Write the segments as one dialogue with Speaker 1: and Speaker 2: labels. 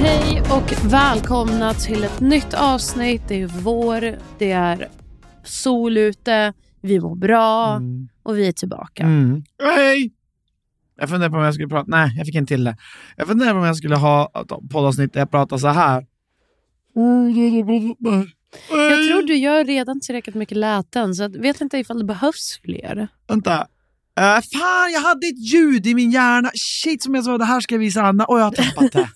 Speaker 1: Hej och välkomna till ett nytt avsnitt. Det är vår, det är sol ute, vi mår bra och vi är tillbaka.
Speaker 2: Mm. Hej! Jag funderar på om jag skulle prata... Nej, jag fick en till det. Jag funderar på om jag skulle ha ett poddavsnitt där jag pratar så här.
Speaker 1: Jag tror du gör redan tillräckligt mycket läten, så jag vet inte ifall det behövs fler.
Speaker 2: Vänta. Eh, fan, jag hade ett ljud i min hjärna. Shit, som jag sa, det här ska jag visa Anna. Och jag har tappat det.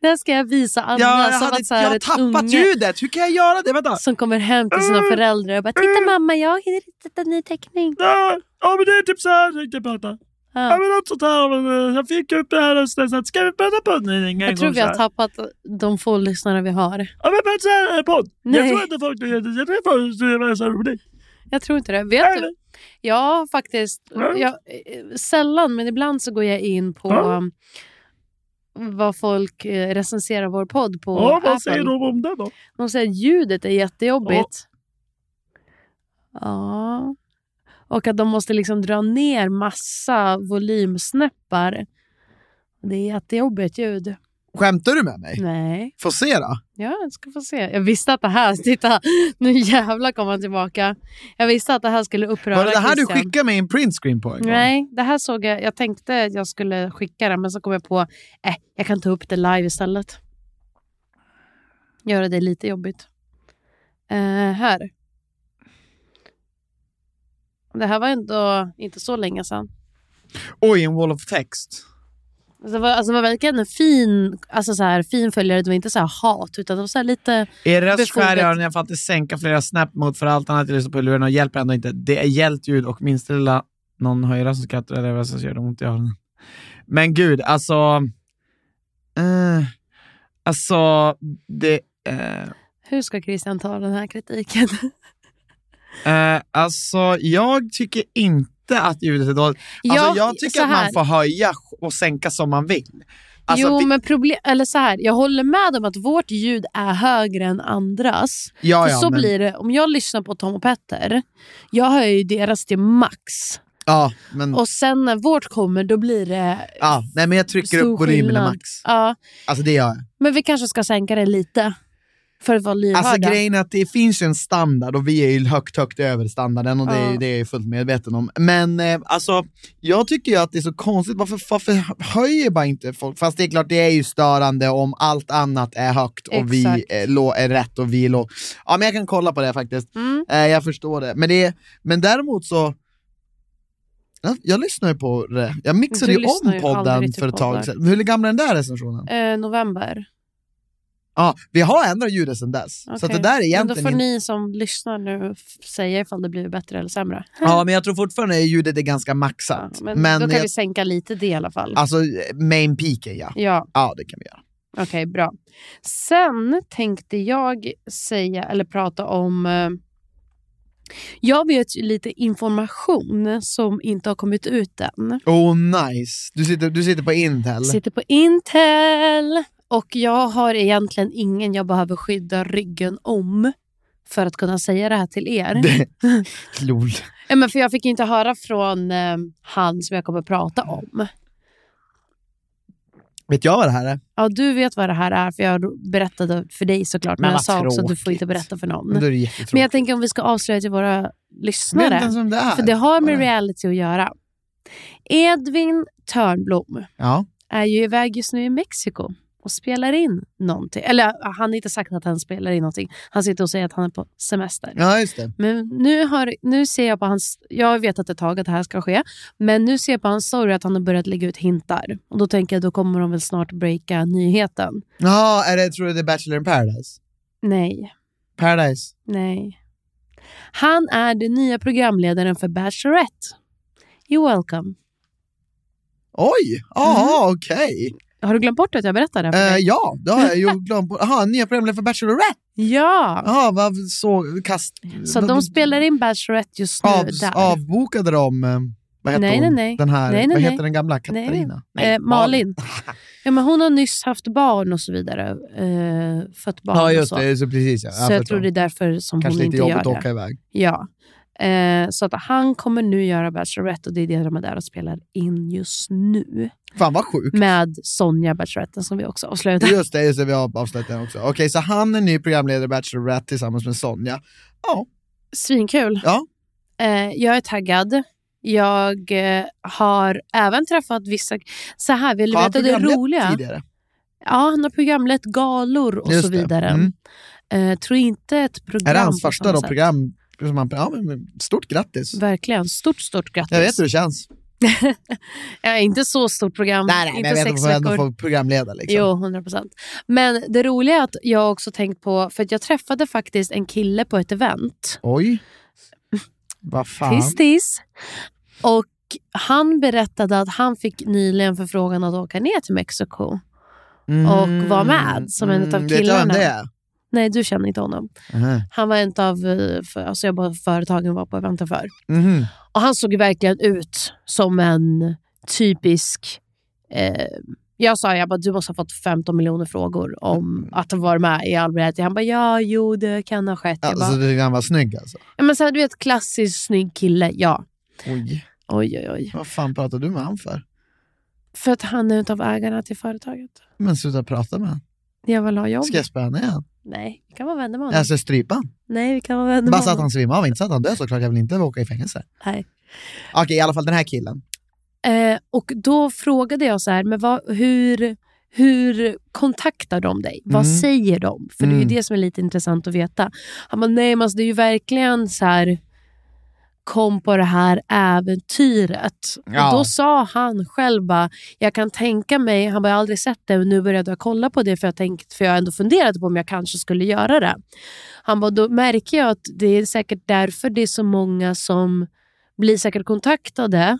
Speaker 1: Det här ska jag visa Anna
Speaker 2: jag, jag,
Speaker 1: som
Speaker 2: hade,
Speaker 1: att så
Speaker 2: jag
Speaker 1: här,
Speaker 2: har
Speaker 1: ett
Speaker 2: tappat Mm.
Speaker 1: unge
Speaker 2: ljudet. Hur kan jag göra det? Vänta.
Speaker 1: som kommer hem till sina föräldrar och bara “Titta mamma, jag har hittat en ny teckning”.
Speaker 2: Ja, ja, men det är typ så här jag tänkte prata. Ja,
Speaker 1: Ja.
Speaker 2: men något sånt här. men, eh, Jag fick upp det här rösten. Så att, ska vi prata podd nu en gång
Speaker 1: Jag tror vi
Speaker 2: så
Speaker 1: har
Speaker 2: här?
Speaker 1: tappat de få lyssnare vi har.
Speaker 2: Ja, men prata så här eh, podd. Jag
Speaker 1: Nej.
Speaker 2: tror inte folk tycker det. Jag tror folk tycker det är så roligt.
Speaker 1: Jag tror inte det. Vet
Speaker 2: Eller?
Speaker 1: du? Ja, faktiskt.
Speaker 2: Mm.
Speaker 1: Jag, eh, sällan, men ibland så går jag in på
Speaker 2: Ja.
Speaker 1: um, vad folk eh, recenserar vår podd på.
Speaker 2: Ja,
Speaker 1: Apple.
Speaker 2: vad säger de om det då?
Speaker 1: De säger att ljudet är jättejobbigt. Ja. Och att de måste liksom dra ner massa volymsnäppar. Det är jättejobbigt ljud.
Speaker 2: Skämtar du med mig?
Speaker 1: Nej.
Speaker 2: Få se då.
Speaker 1: Ja, jag ska få se. Jag visste att det här... Titta, nu jävlar kommer han tillbaka. Jag visste att det här skulle uppröra
Speaker 2: Var det det här du
Speaker 1: Christian.
Speaker 2: skickade mig en printscreen på en gång?
Speaker 1: Nej, det här såg jag. Jag tänkte att jag skulle skicka det, men så kom jag på eh, jag kan ta upp det live istället. Göra det lite jobbigt. Eh, här. Det här var ändå inte så länge sedan.
Speaker 2: Oj, en wall of text.
Speaker 1: Alltså, det, var, alltså, det var verkligen en fin, alltså, så här, fin följare. Det var inte så här hat, utan det var så här lite...
Speaker 2: Er röst
Speaker 1: Befogat.
Speaker 2: skär i öronen, jag får alltid sänka flera snap mot för allt annat jag lyssnar på i lurarna och hjälper ändå inte. Det är hjälpt ljud och minsta lilla någon höjra som skrattar eller vad som gör det ont i öronen. Men gud, alltså... Eh, alltså, det... Eh,
Speaker 1: Hur ska Christian ta den här kritiken?
Speaker 2: eh, alltså, jag tycker inte att ljudet är dåligt. Alltså,
Speaker 1: Ja,
Speaker 2: jag
Speaker 1: så
Speaker 2: tycker att man
Speaker 1: här.
Speaker 2: får höja och sänka som man vill. Alltså,
Speaker 1: jo,
Speaker 2: vi-
Speaker 1: men problem... Eller så här, jag håller med om att vårt ljud är högre än andras.
Speaker 2: ja,
Speaker 1: För
Speaker 2: ja,
Speaker 1: så
Speaker 2: men-
Speaker 1: blir det om jag lyssnar på Tom och Petter. Jag hör ju deras till max.
Speaker 2: Ja, men...
Speaker 1: Och sen när vårt kommer då blir det
Speaker 2: Ja, nej, men jag trycker
Speaker 1: stor
Speaker 2: upp volymen i
Speaker 1: skillnad.
Speaker 2: max.
Speaker 1: Ja,
Speaker 2: Alltså det gör jag.
Speaker 1: men vi kanske ska sänka det lite. För att vara lyhörda.
Speaker 2: Alltså grejen är att det finns ju en standard och vi är ju högt, högt över standarden och det, är,
Speaker 1: Ja.
Speaker 2: det är jag ju fullt medveten om. Men eh, alltså, jag tycker ju att det är så konstigt, varför, varför höjer bara inte folk? Fast det är klart, det är ju störande om allt annat är högt och vi
Speaker 1: Exakt.
Speaker 2: är, lå- är rätt och vi är lågt. Ja, men jag kan kolla på det faktiskt.
Speaker 1: mm.
Speaker 2: Eh, jag förstår det. Men, det. men däremot så... Ja, Jag lyssnar ju på det. Jag mixade
Speaker 1: Du
Speaker 2: ju om
Speaker 1: lyssnar ju
Speaker 2: podden
Speaker 1: aldrig till
Speaker 2: för ett tag
Speaker 1: poddar.
Speaker 2: sedan. Hur gammal är den där recensionen?
Speaker 1: eh, november.
Speaker 2: Ja, vi har ändrat ljudet sedan dess. Så att det
Speaker 1: Okej.
Speaker 2: där är
Speaker 1: Men då
Speaker 2: egentligen
Speaker 1: får
Speaker 2: inte-
Speaker 1: ni som lyssnar nu f- säga ifall det blir bättre eller sämre.
Speaker 2: Ja, men jag tror fortfarande att ljudet är ganska
Speaker 1: Ja,
Speaker 2: maxat.
Speaker 1: men, då kan
Speaker 2: jag,
Speaker 1: vi sänka lite det i alla fall.
Speaker 2: Alltså main peaken, ja.
Speaker 1: Ja,
Speaker 2: Ja, det kan vi göra.
Speaker 1: okej, bra. Sen tänkte jag säga, eller prata om... Eh, jag vet ju lite information som inte har kommit ut än.
Speaker 2: Oh, nice. Du sitter, du sitter på Intel.
Speaker 1: Sitter på Intel. Och jag har egentligen ingen jag behöver skydda ryggen om för att kunna säga det här till er.
Speaker 2: Det- Lol.
Speaker 1: Nej, Men för Jag fick ju inte höra från eh, han som jag kommer prata
Speaker 2: Mm.
Speaker 1: om.
Speaker 2: Vet jag vad det här är?
Speaker 1: Ja, du vet vad det här är, för jag berättade för dig såklart. Men,
Speaker 2: Men
Speaker 1: jag
Speaker 2: vad
Speaker 1: sa också att du får
Speaker 2: tråkigt.
Speaker 1: inte berätta för någon.
Speaker 2: Men då är det
Speaker 1: Men
Speaker 2: jättetråkigt.
Speaker 1: jag tänker om vi ska avslöja till våra
Speaker 2: Jag vet inte
Speaker 1: lyssnare.
Speaker 2: ens vem det är.
Speaker 1: För det har med
Speaker 2: Vad är
Speaker 1: reality att göra. Edvin Törnblom
Speaker 2: Ja.
Speaker 1: är ju iväg just nu i Mexiko och spelar in någonting. Eller ja, han har inte sagt att han spelar in någonting. Han sitter och säger att han är på semester.
Speaker 2: ja, just det.
Speaker 1: Men nu, har, nu ser jag på hans... Jag har vetat ett tag att det här ska ske. Men nu ser jag på hans story att han har börjat lägga ut hintar. Och då tänker jag då kommer de väl snart breaka nyheten.
Speaker 2: Ja, är det, tror du det är Bachelor in Paradise?
Speaker 1: Nej.
Speaker 2: Paradise?
Speaker 1: Nej. Han är den nya programledaren för Bachelorette. You're welcome.
Speaker 2: Oj! Ja, okej.
Speaker 1: Har du glömt bort att jag berättade det här Mm. för
Speaker 2: Eh,
Speaker 1: dig?
Speaker 2: ja, det har jag ju glömt. bort. Jaha, nya programledare för Bachelorette.
Speaker 1: Ja!
Speaker 2: Ja, vad så kast...
Speaker 1: Så de spelar in Bachelorette just nu
Speaker 2: Av,
Speaker 1: där.
Speaker 2: avbokade de, eh, vad heter
Speaker 1: Nej,
Speaker 2: hon?
Speaker 1: nej, nej.
Speaker 2: Den här,
Speaker 1: Nej, nej,
Speaker 2: vad
Speaker 1: nej.
Speaker 2: heter den gamla?
Speaker 1: Nej.
Speaker 2: Katarina?
Speaker 1: eh, Malin. ja, men hon har nyss haft barn och så vidare. Eh, fött barn
Speaker 2: Ja, just
Speaker 1: och så.
Speaker 2: det. Så precis, ja.
Speaker 1: Så jag tror det är därför som
Speaker 2: Kanske
Speaker 1: hon
Speaker 2: lite
Speaker 1: inte gör
Speaker 2: jobbigt att
Speaker 1: det.
Speaker 2: åka iväg.
Speaker 1: Ja. Eh, så att han kommer nu göra Bachelorette och det är det de är där och spelar in just nu.
Speaker 2: Fan vad sjukt.
Speaker 1: Med Sonja Bachelorette som vi också avslöjade.
Speaker 2: Just det, just det, vi har avslutat den också. Okej, så han är ny programledare i Bachelorette tillsammans med Sonja. Ja,
Speaker 1: Svinkul.
Speaker 2: Ja.
Speaker 1: Eh, jag är taggad. Jag eh, har även träffat vissa... Så här, vill du
Speaker 2: har han
Speaker 1: veta det
Speaker 2: programlett
Speaker 1: roliga?
Speaker 2: tidigare?
Speaker 1: Ja, han har programlett galor och
Speaker 2: Just
Speaker 1: så
Speaker 2: det.
Speaker 1: vidare.
Speaker 2: Mm.
Speaker 1: Eh, tror inte ett program...
Speaker 2: Är det hans
Speaker 1: på
Speaker 2: första
Speaker 1: samma
Speaker 2: då,
Speaker 1: sätt.
Speaker 2: program? Som han, ja, men stort grattis.
Speaker 1: Verkligen. Stort, stort grattis.
Speaker 2: Jag vet hur det känns.
Speaker 1: Mm, Ja, inte så stort program.
Speaker 2: Nej, nej, men
Speaker 1: inte
Speaker 2: jag vet att
Speaker 1: sex
Speaker 2: man får ändå
Speaker 1: veckor.
Speaker 2: få programleda. Liksom.
Speaker 1: Jo, 100 procent. Men det roliga är att jag också tänkt på, för att jag träffade faktiskt en kille på ett event.
Speaker 2: Oj. Vad fan.
Speaker 1: Tiss, tiss. Och han berättade att han fick nyligen förfrågan att åka ner till Mexiko. och var med som en utav
Speaker 2: Mm. Vet du vem
Speaker 1: killarna.
Speaker 2: det är?
Speaker 1: Nej, du känner inte honom.
Speaker 2: Mhm.
Speaker 1: Han var en av eh, för, alltså jag bara, företagen var på eventen för.
Speaker 2: Mhm.
Speaker 1: Och han såg verkligen ut som en typisk... Eh, jag sa jag bara, du måste ha fått 15 miljoner frågor om att vara med i all reality. Han bara, ja, jo, det kan ha skett. Jag
Speaker 2: Ja, så
Speaker 1: bara,
Speaker 2: du tyckte han var snygg alltså?
Speaker 1: ja, men så här, du vet, klassisk snygg kille. Ja.
Speaker 2: Oj,
Speaker 1: Oj, oj, oj.
Speaker 2: vad fan pratar du med han för?
Speaker 1: För att han är utav ägarna till företaget.
Speaker 2: Men sluta prata med han.
Speaker 1: Jag vill ha jobb.
Speaker 2: Ska jag spöa ner han?
Speaker 1: Nej, vi kan vara vänner med honom.
Speaker 2: Alltså strypa han?
Speaker 1: Nej, vi kan vara vänner med
Speaker 2: Bara så att
Speaker 1: honom.
Speaker 2: han svimmar av, inte så att han dör såklart. Jag vill inte åka i fängelse.
Speaker 1: Nej.
Speaker 2: Okej, i alla fall den här killen.
Speaker 1: Eh, och då frågade jag så här, men vad, hur, hur kontaktar de dig? Vad
Speaker 2: Mm.
Speaker 1: säger de? För det är
Speaker 2: Mm.
Speaker 1: ju det som är lite intressant att veta. Han bara, nej men alltså, det är ju verkligen så här, kom på det här äventyret.
Speaker 2: Ja.
Speaker 1: Och då sa han själv bara, jag kan tänka mig, han bara, jag har aldrig sett det, men nu började jag kolla på det för jag, tänkt, för jag ändå funderade på om jag kanske skulle göra det. Han bara, då märker jag att det är säkert därför det är så många som blir säkert kontaktade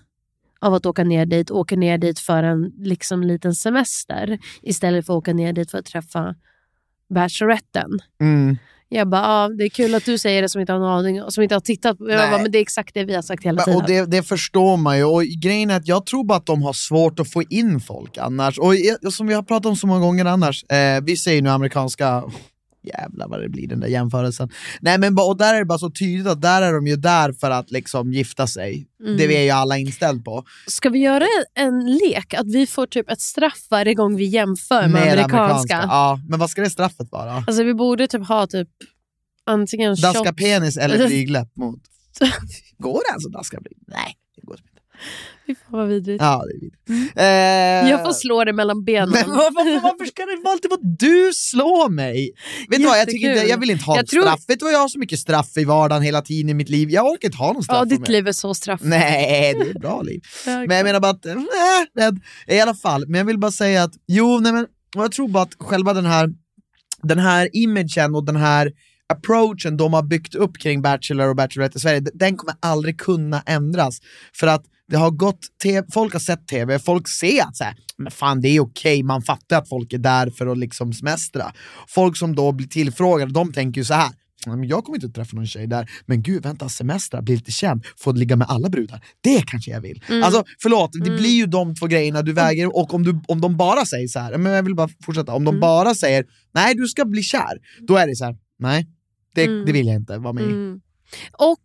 Speaker 1: av att åka ner dit, åker ner dit för en liksom, liten semester istället för att åka ner dit för att träffa Bacheloretten. Jag bara, ah, det är kul att du säger det som inte har en aning och som inte har tittat. på- Jag
Speaker 2: Nej.
Speaker 1: bara, men det är exakt det vi har sagt hela
Speaker 2: Men,
Speaker 1: tiden.
Speaker 2: och det, det förstår man ju. Och grejen är att jag tror bara att de har svårt att få in folk annars. Och jag- som vi har pratat om så många gånger annars. Eh, vi säger nu amerikanska... Jävlar vad det blir den där jämförelsen. Nej men ba- och där är det bara så tydligt att där är de ju där för att liksom gifta sig.
Speaker 1: Mm.
Speaker 2: Det är ju alla inställd på.
Speaker 1: Ska vi göra en lek? Att vi får typ ett straff varje gång vi jämför med,
Speaker 2: Mer
Speaker 1: amerikanska.
Speaker 2: Ja, men vad ska det straffet vara?
Speaker 1: Alltså vi borde typ ha typ antingen
Speaker 2: Daska
Speaker 1: shot.
Speaker 2: penis eller flygläpp mot... Går det ens att daska flygläpp? Nej, det går inte.
Speaker 1: Fy fan vad vidrigt.
Speaker 2: Ja, det är vidrigt. Eh,
Speaker 1: Jag får slå det mellan benen.
Speaker 2: Men varför, varför ska det vara alltid vara du slår mig? Vet du vad, jag, tycker inte,
Speaker 1: Jättekul.
Speaker 2: jag vill inte ha
Speaker 1: Jag
Speaker 2: ett
Speaker 1: tror-
Speaker 2: straff. Vet du vad, jag har så mycket straff i vardagen hela tiden i mitt liv. Jag orkar inte ha någon straff.
Speaker 1: ja,
Speaker 2: för
Speaker 1: ditt
Speaker 2: mig.
Speaker 1: liv är så straffat.
Speaker 2: Nej, det är ett bra liv. Men jag menar bara att, nej, rädd. I alla fall, men jag vill bara säga att, jo, nej men, och jag tror bara att själva den här den här imagen och den här approachen de har byggt upp kring Bachelor och Bachelorette i Sverige, d- den kommer aldrig kunna ändras. För att det har gått, te- folk har sett tv, folk ser att så här, men fan det är okej, man fattar att folk är där för att liksom semestra. Folk som då blir tillfrågade, de tänker ju så här, "Nej, men jag kommer inte att träffa någon tjej där, men gud vänta, semestra, bli lite känd, få ligga med alla brudar, det kanske jag vill.
Speaker 1: Mm.
Speaker 2: Alltså förlåt, det blir ju de två grejerna du väger och om, du, om de bara säger så här, men jag vill bara fortsätta, om de
Speaker 1: Mm.
Speaker 2: bara säger nej du ska bli kär, då är det så här, nej det, det vill jag inte vara med i.
Speaker 1: Mm. Och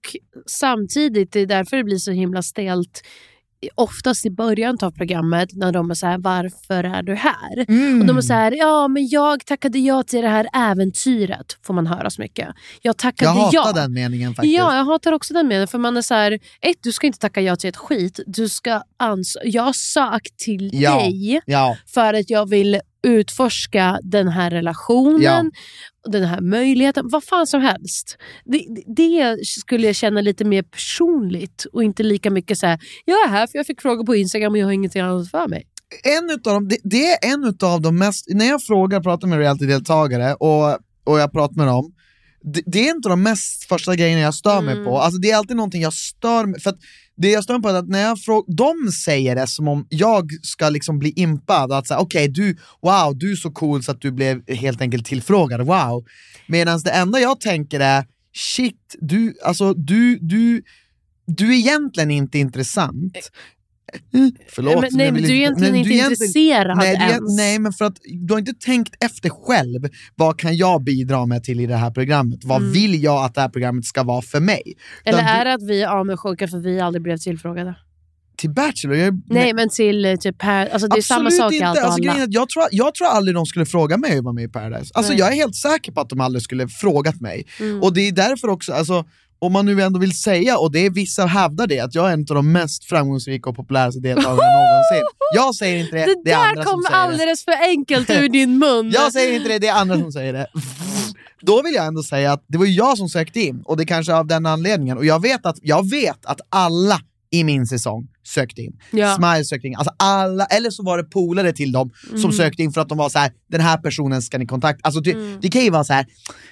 Speaker 1: samtidigt, det är därför det blir så himla stelt i- oftast i början av programmet när de är så här, varför är du här? Mm. Och
Speaker 2: Mm.
Speaker 1: de är så här, ja men jag tackade ja till det här äventyret, får man höra så mycket. Jag tackade
Speaker 2: Jag hatar
Speaker 1: ja.
Speaker 2: den meningen faktiskt.
Speaker 1: Ja, jag hatar också den meningen. För man är så här, ett, du ska inte tacka ja till ett skit. Du ska ans- jag sökt till
Speaker 2: Ja.
Speaker 1: dig
Speaker 2: Ja.
Speaker 1: för att jag vill utforska den här relationen,
Speaker 2: Ja.
Speaker 1: den här möjligheten, vad fan som helst. Det, det skulle jag känna lite mer personligt och inte lika mycket så här, jag är här för jag fick frågor på Instagram och jag har ingenting annat för mig.
Speaker 2: en utav dem, det, det är en utav de mest, när jag frågar, pratar med reality-deltagare och, och jag pratar med dem, det, det är inte de mest första grejerna jag stör mig på. Alltså det är alltid någonting jag stör mig för att det jag stör mig på är att när jag frågar, de säger det som om jag ska liksom bli impad, att säga okej du, wow du är så cool så att du blev helt enkelt tillfrågad, wow. Medan det enda jag tänker är, shit, du, alltså du, du, du är egentligen inte intressant.
Speaker 1: men,
Speaker 2: Förlåt, men
Speaker 1: Eh, nej,
Speaker 2: jag
Speaker 1: men
Speaker 2: vill
Speaker 1: du är egentligen
Speaker 2: men
Speaker 1: inte
Speaker 2: du är egentligen-
Speaker 1: intresserad
Speaker 2: Nej, det är-
Speaker 1: ens.
Speaker 2: nej, men för att du har inte tänkt efter själv. Vad kan jag bidra med till i det här programmet? Vad vill jag att det här programmet ska vara för mig?
Speaker 1: Mm. Eller
Speaker 2: Utan du-
Speaker 1: är det att vi är avundsjuka för vi aldrig blev tillfrågade?
Speaker 2: Till Bachelor? Jag,
Speaker 1: Nej, men till eh, typ här, alltså det är samma sak i allt och
Speaker 2: Alltså,
Speaker 1: alla.
Speaker 2: grejen är att jag, tror, jag tror aldrig de skulle fråga mig att vara med i Paradise. Alltså,
Speaker 1: Nej.
Speaker 2: jag är helt säker på att de aldrig skulle frågat mig.
Speaker 1: Mm.
Speaker 2: Och det är därför också, alltså, om man nu ändå vill säga, och det är vissa hävdar det, att jag är en av de mest framgångsrika och populäraste deltagarna någonsin. Jag säger inte det, det,
Speaker 1: det,
Speaker 2: är
Speaker 1: där
Speaker 2: andra som
Speaker 1: kom
Speaker 2: säger det.
Speaker 1: alldeles för enkelt ur din mun.
Speaker 2: Jag säger inte det, det är andra som säger det. Då vill jag ändå säga att det var ju jag som sökte in och det kanske är av den anledningen. Och jag vet att, jag vet att alla i min säsong sökte in.
Speaker 1: Ja.
Speaker 2: Smile sökte in. Alltså alla, eller så var det polare till dem som
Speaker 1: Mm.
Speaker 2: sökte in för att de var så här: den här personen ska ni kontakta. Alltså det,
Speaker 1: Mm.
Speaker 2: det kan ju vara så här: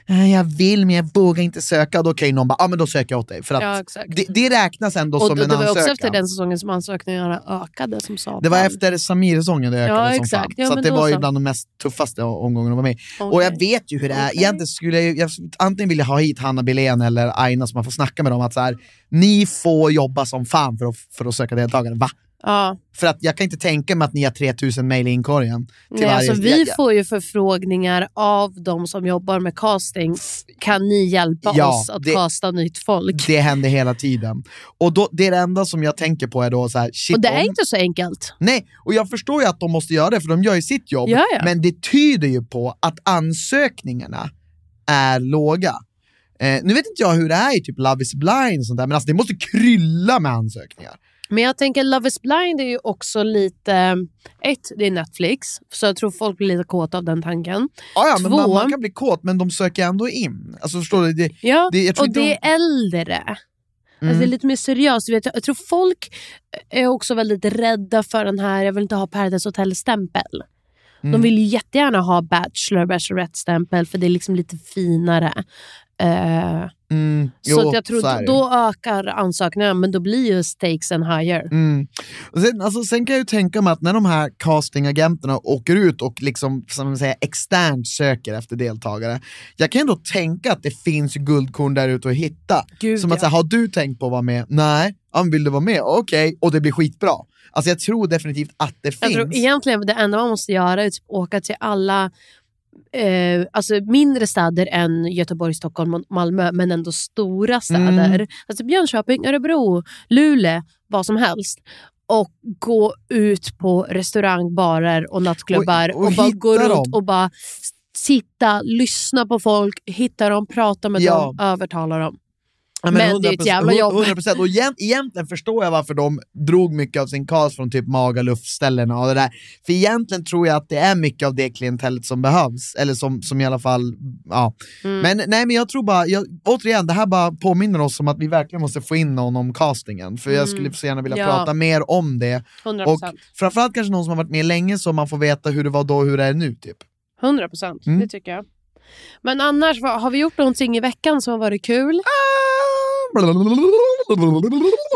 Speaker 2: "Eh, jag vill men jag vågar inte söka. Och då kan ju någon bara, ja ah, men då söker jag åt dig. För att
Speaker 1: Ja, exakt.
Speaker 2: det, det räknas ändå
Speaker 1: Och
Speaker 2: som
Speaker 1: det,
Speaker 2: en
Speaker 1: det var
Speaker 2: ansökan.
Speaker 1: också efter den säsongen som ansökningarna ökade som satan.
Speaker 2: Det var efter Samir-säsongen det ökade
Speaker 1: Ja,
Speaker 2: som
Speaker 1: exakt.
Speaker 2: fan.
Speaker 1: Ja,
Speaker 2: så
Speaker 1: men
Speaker 2: att det
Speaker 1: då
Speaker 2: var ju
Speaker 1: så.
Speaker 2: bland de mest tuffaste omgångarna att vara med i. Och
Speaker 1: Okej.
Speaker 2: jag vet ju hur det är.
Speaker 1: Okej.
Speaker 2: Egentligen skulle jag, ju- jag antingen vilja ha hit Hanna Billén eller Aina som man får snacka med dem. Att så här, ni får jobba som fan för att, för att söka deltagare. Va?
Speaker 1: Ja.
Speaker 2: För att jag kan inte tänka mig att ni har 3000 mejl i inkorgen. till
Speaker 1: Nej,
Speaker 2: varje-
Speaker 1: alltså, vi
Speaker 2: jag,
Speaker 1: får ju förfrågningar av de som jobbar med casting. Kan ni hjälpa
Speaker 2: Ja,
Speaker 1: oss att
Speaker 2: det-
Speaker 1: casta nytt folk?
Speaker 2: det händer hela tiden. Och då, det är det enda som jag tänker på är då så här, shit,
Speaker 1: och det är
Speaker 2: om-
Speaker 1: inte så enkelt.
Speaker 2: Nej, och jag förstår ju att de måste göra det för de gör ju sitt jobb.
Speaker 1: Ja, ja.
Speaker 2: Men det tyder ju på att ansökningarna är låga. Eh, nu vet inte jag hur det är i typ Love is blind och sånt där, men alltså det måste krylla med ansökningar.
Speaker 1: Men jag tänker Love is blind är ju också lite... Ett, det är Netflix, så jag tror folk blir lite kåta av den tanken.
Speaker 2: Ja, ja, men man,
Speaker 1: Två.
Speaker 2: man kan bli kåt, men de söker ändå in. Alltså förstår du? Det,
Speaker 1: Ja,
Speaker 2: Det- jag tror Mm.
Speaker 1: och
Speaker 2: inte
Speaker 1: det är äldre. Alltså det är lite mer seriöst. Du vet, Jag tror folk är också väldigt rädda för den här, jag vill inte ha Paradise Hotel-stämpel.
Speaker 2: Mm.
Speaker 1: De vill ju jättegärna ha Bachelor Bachelorette-stämpel för det är liksom lite finare. Eh,
Speaker 2: mm,
Speaker 1: så att jag tror
Speaker 2: så är det.
Speaker 1: då ökar ansökningarna men då blir ju stakesen higher.
Speaker 2: Mm. Och sen, alltså, sen kan jag ju tänka mig att när de här castingagenterna åker ut och liksom, som man säger, externt söker efter deltagare, jag kan ändå tänka att det finns ju guldkorn där ute att hitta.
Speaker 1: Gud,
Speaker 2: som att
Speaker 1: ja.
Speaker 2: säga, har du tänkt på att vara med? Nej. Ja, men vill du vara med? Okej, och det blir skitbra. Alltså jag tror definitivt att det
Speaker 1: Jag
Speaker 2: finns.
Speaker 1: tror egentligen det enda man måste göra är typ åka till alla eh, alltså mindre städer än Göteborg, Stockholm och Malmö, men ändå stora städer.
Speaker 2: Mm.
Speaker 1: Alltså Björnköping, Örebro, Luleå, vad som helst. Och gå ut på restaurangbarer och nattklubbar
Speaker 2: Och-
Speaker 1: och,
Speaker 2: och
Speaker 1: bara
Speaker 2: hitta
Speaker 1: gå runt
Speaker 2: dem.
Speaker 1: och bara s- sitta, lyssna på folk, hitta dem, prata med
Speaker 2: Ja.
Speaker 1: dem, övertala dem.
Speaker 2: Ja,
Speaker 1: Men det är ett
Speaker 2: 100%,
Speaker 1: jävla jobb.
Speaker 2: 100%. Och egent, egentligen förstår jag varför de drog mycket av sin cast från typ Magaluf-ställena och det där. För egentligen tror jag att det är mycket av det klientellet som behövs, eller som, som i alla fall, ja.
Speaker 1: Mm.
Speaker 2: Men nej, men jag tror bara, jag, återigen, det här bara påminner oss om att vi verkligen måste få in någon om castingen. För jag skulle så gärna vilja
Speaker 1: Mm. Ja.
Speaker 2: prata mer om det.
Speaker 1: 100%.
Speaker 2: Och framförallt kanske någon som har varit med länge så man får veta hur det var då och hur det är nu. Typ.
Speaker 1: 100 procent,
Speaker 2: Mm.
Speaker 1: det tycker jag. Men annars, vad, har vi gjort någonting i veckan som har varit kul?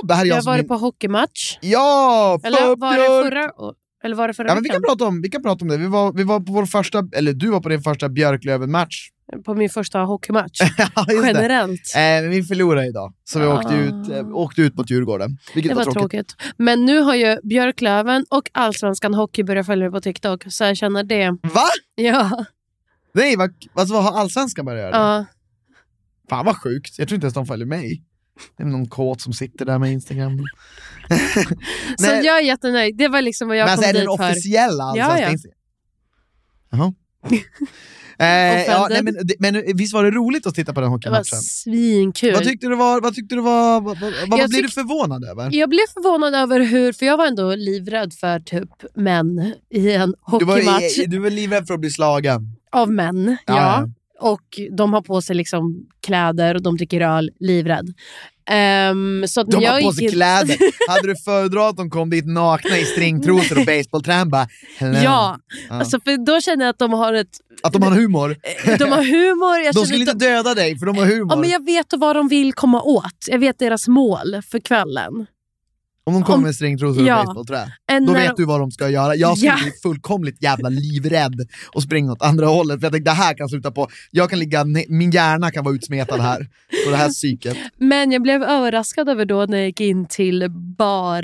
Speaker 2: Det
Speaker 1: Ah!
Speaker 2: här är
Speaker 1: Jag
Speaker 2: jag,
Speaker 1: har
Speaker 2: som
Speaker 1: varit
Speaker 2: in-
Speaker 1: på hockeymatch.
Speaker 2: Ja!
Speaker 1: Eller var det
Speaker 2: Förbjörk!
Speaker 1: förra, eller var det förra
Speaker 2: Ja, men vi, kan
Speaker 1: veckan?
Speaker 2: prata om, vi kan prata om det. Vi var, vi var på vår första, eller du var på din första Björklöven-match.
Speaker 1: På min första hockeymatch.
Speaker 2: Ja, just det.
Speaker 1: Generellt.
Speaker 2: Eh, vi förlorade idag, så vi
Speaker 1: Ah.
Speaker 2: åkte, ut, eh, åkte ut mot Djurgården. Vilket
Speaker 1: Det var tråkigt. Men nu har ju Björklöven och Allsvenskan Hockey börjat följa mig på TikTok, så jag känner det.
Speaker 2: Va?
Speaker 1: Ja.
Speaker 2: Nej, vad, alltså, vad har Allsvenskan börjat göra?
Speaker 1: ja.
Speaker 2: Fan vad sjukt, jag tror inte ens de följer mig. Det är någon kåt som sitter där med Instagram.
Speaker 1: Så
Speaker 2: Nej.
Speaker 1: jag är jättenöjd. Det var liksom vad jag
Speaker 2: men alltså,
Speaker 1: kom
Speaker 2: är det
Speaker 1: dit
Speaker 2: den
Speaker 1: för.
Speaker 2: officiella
Speaker 1: Ja,
Speaker 2: allsvenska
Speaker 1: ja.
Speaker 2: Instagram? Jaha. eh, ja, nej,
Speaker 1: Offended.
Speaker 2: men, det- men visst var det roligt att titta på den
Speaker 1: Det var
Speaker 2: hockeymatchen?
Speaker 1: svinkul.
Speaker 2: Vad tyckte du var, vad, tyckte du var, vad, vad, vad
Speaker 1: Jag
Speaker 2: blir du
Speaker 1: tyck-
Speaker 2: förvånad över?
Speaker 1: Jag blev förvånad över hur, för jag var ändå livrädd för typ män i en
Speaker 2: Du var,
Speaker 1: hockeymatch
Speaker 2: i- du var livrädd för att bli slagen.
Speaker 1: av män.
Speaker 2: Ja,
Speaker 1: Ja.
Speaker 2: ja.
Speaker 1: Och de har på sig liksom kläder och de dricker öl, livrädd. Ehm, så att när
Speaker 2: De
Speaker 1: jag
Speaker 2: har på
Speaker 1: gick
Speaker 2: sig
Speaker 1: in-
Speaker 2: kläder. Hade du föredragit att de kom dit nakna i stringtrosor och basebollträn bara hello.
Speaker 1: Ja,
Speaker 2: Ja.
Speaker 1: alltså för då känner jag att de har ett... eh,
Speaker 2: Att de har humor.
Speaker 1: De har humor. Jag
Speaker 2: De
Speaker 1: känner
Speaker 2: skulle
Speaker 1: att
Speaker 2: inte döda dig för de har humor.
Speaker 1: Ja, men jag vet vad de vill komma åt. Jag vet deras mål för kvällen.
Speaker 2: Om de kommer
Speaker 1: om-
Speaker 2: med stringtrosor och
Speaker 1: Ja.
Speaker 2: basebollträ.
Speaker 1: En
Speaker 2: Då
Speaker 1: när-
Speaker 2: vet du vad de ska göra. Jag skulle
Speaker 1: Ja.
Speaker 2: bli fullkomligt jävla livrädd och springa åt andra hållet. För jag tänkte det här kan sluta på, jag kan ligga, ne- min hjärna kan vara utsmetad här. Och det här psyket.
Speaker 1: Men jag blev överraskad över då när jag gick in till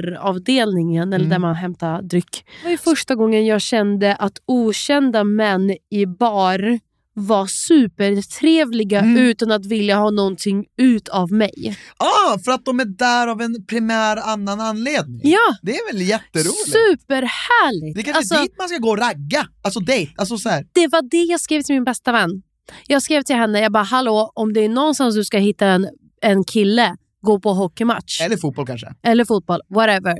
Speaker 1: baravdelningen, eller
Speaker 2: Mm.
Speaker 1: där man hämtar dryck. Det var ju första gången jag kände att okända män i bar var supertrevliga
Speaker 2: Mm.
Speaker 1: utan att vilja ha någonting ut av mig.
Speaker 2: Ah, för att de är där av en primär annan anledning.
Speaker 1: Ja,
Speaker 2: Det är väl jätteroligt?
Speaker 1: superhärligt!
Speaker 2: Det är kanske
Speaker 1: alltså,
Speaker 2: dit man ska gå och ragga. Alltså dejt. Alltså så här.
Speaker 1: det var det jag skrev till min bästa vän. Jag skrev till henne, jag bara hallå, om det är någonstans du ska hitta en, en kille, gå på hockeymatch.
Speaker 2: Eller fotboll kanske.
Speaker 1: eller fotboll, whatever.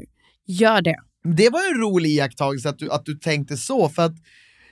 Speaker 1: Gör det.
Speaker 2: Det var ju en rolig iakttagelse att du, att du tänkte så, för att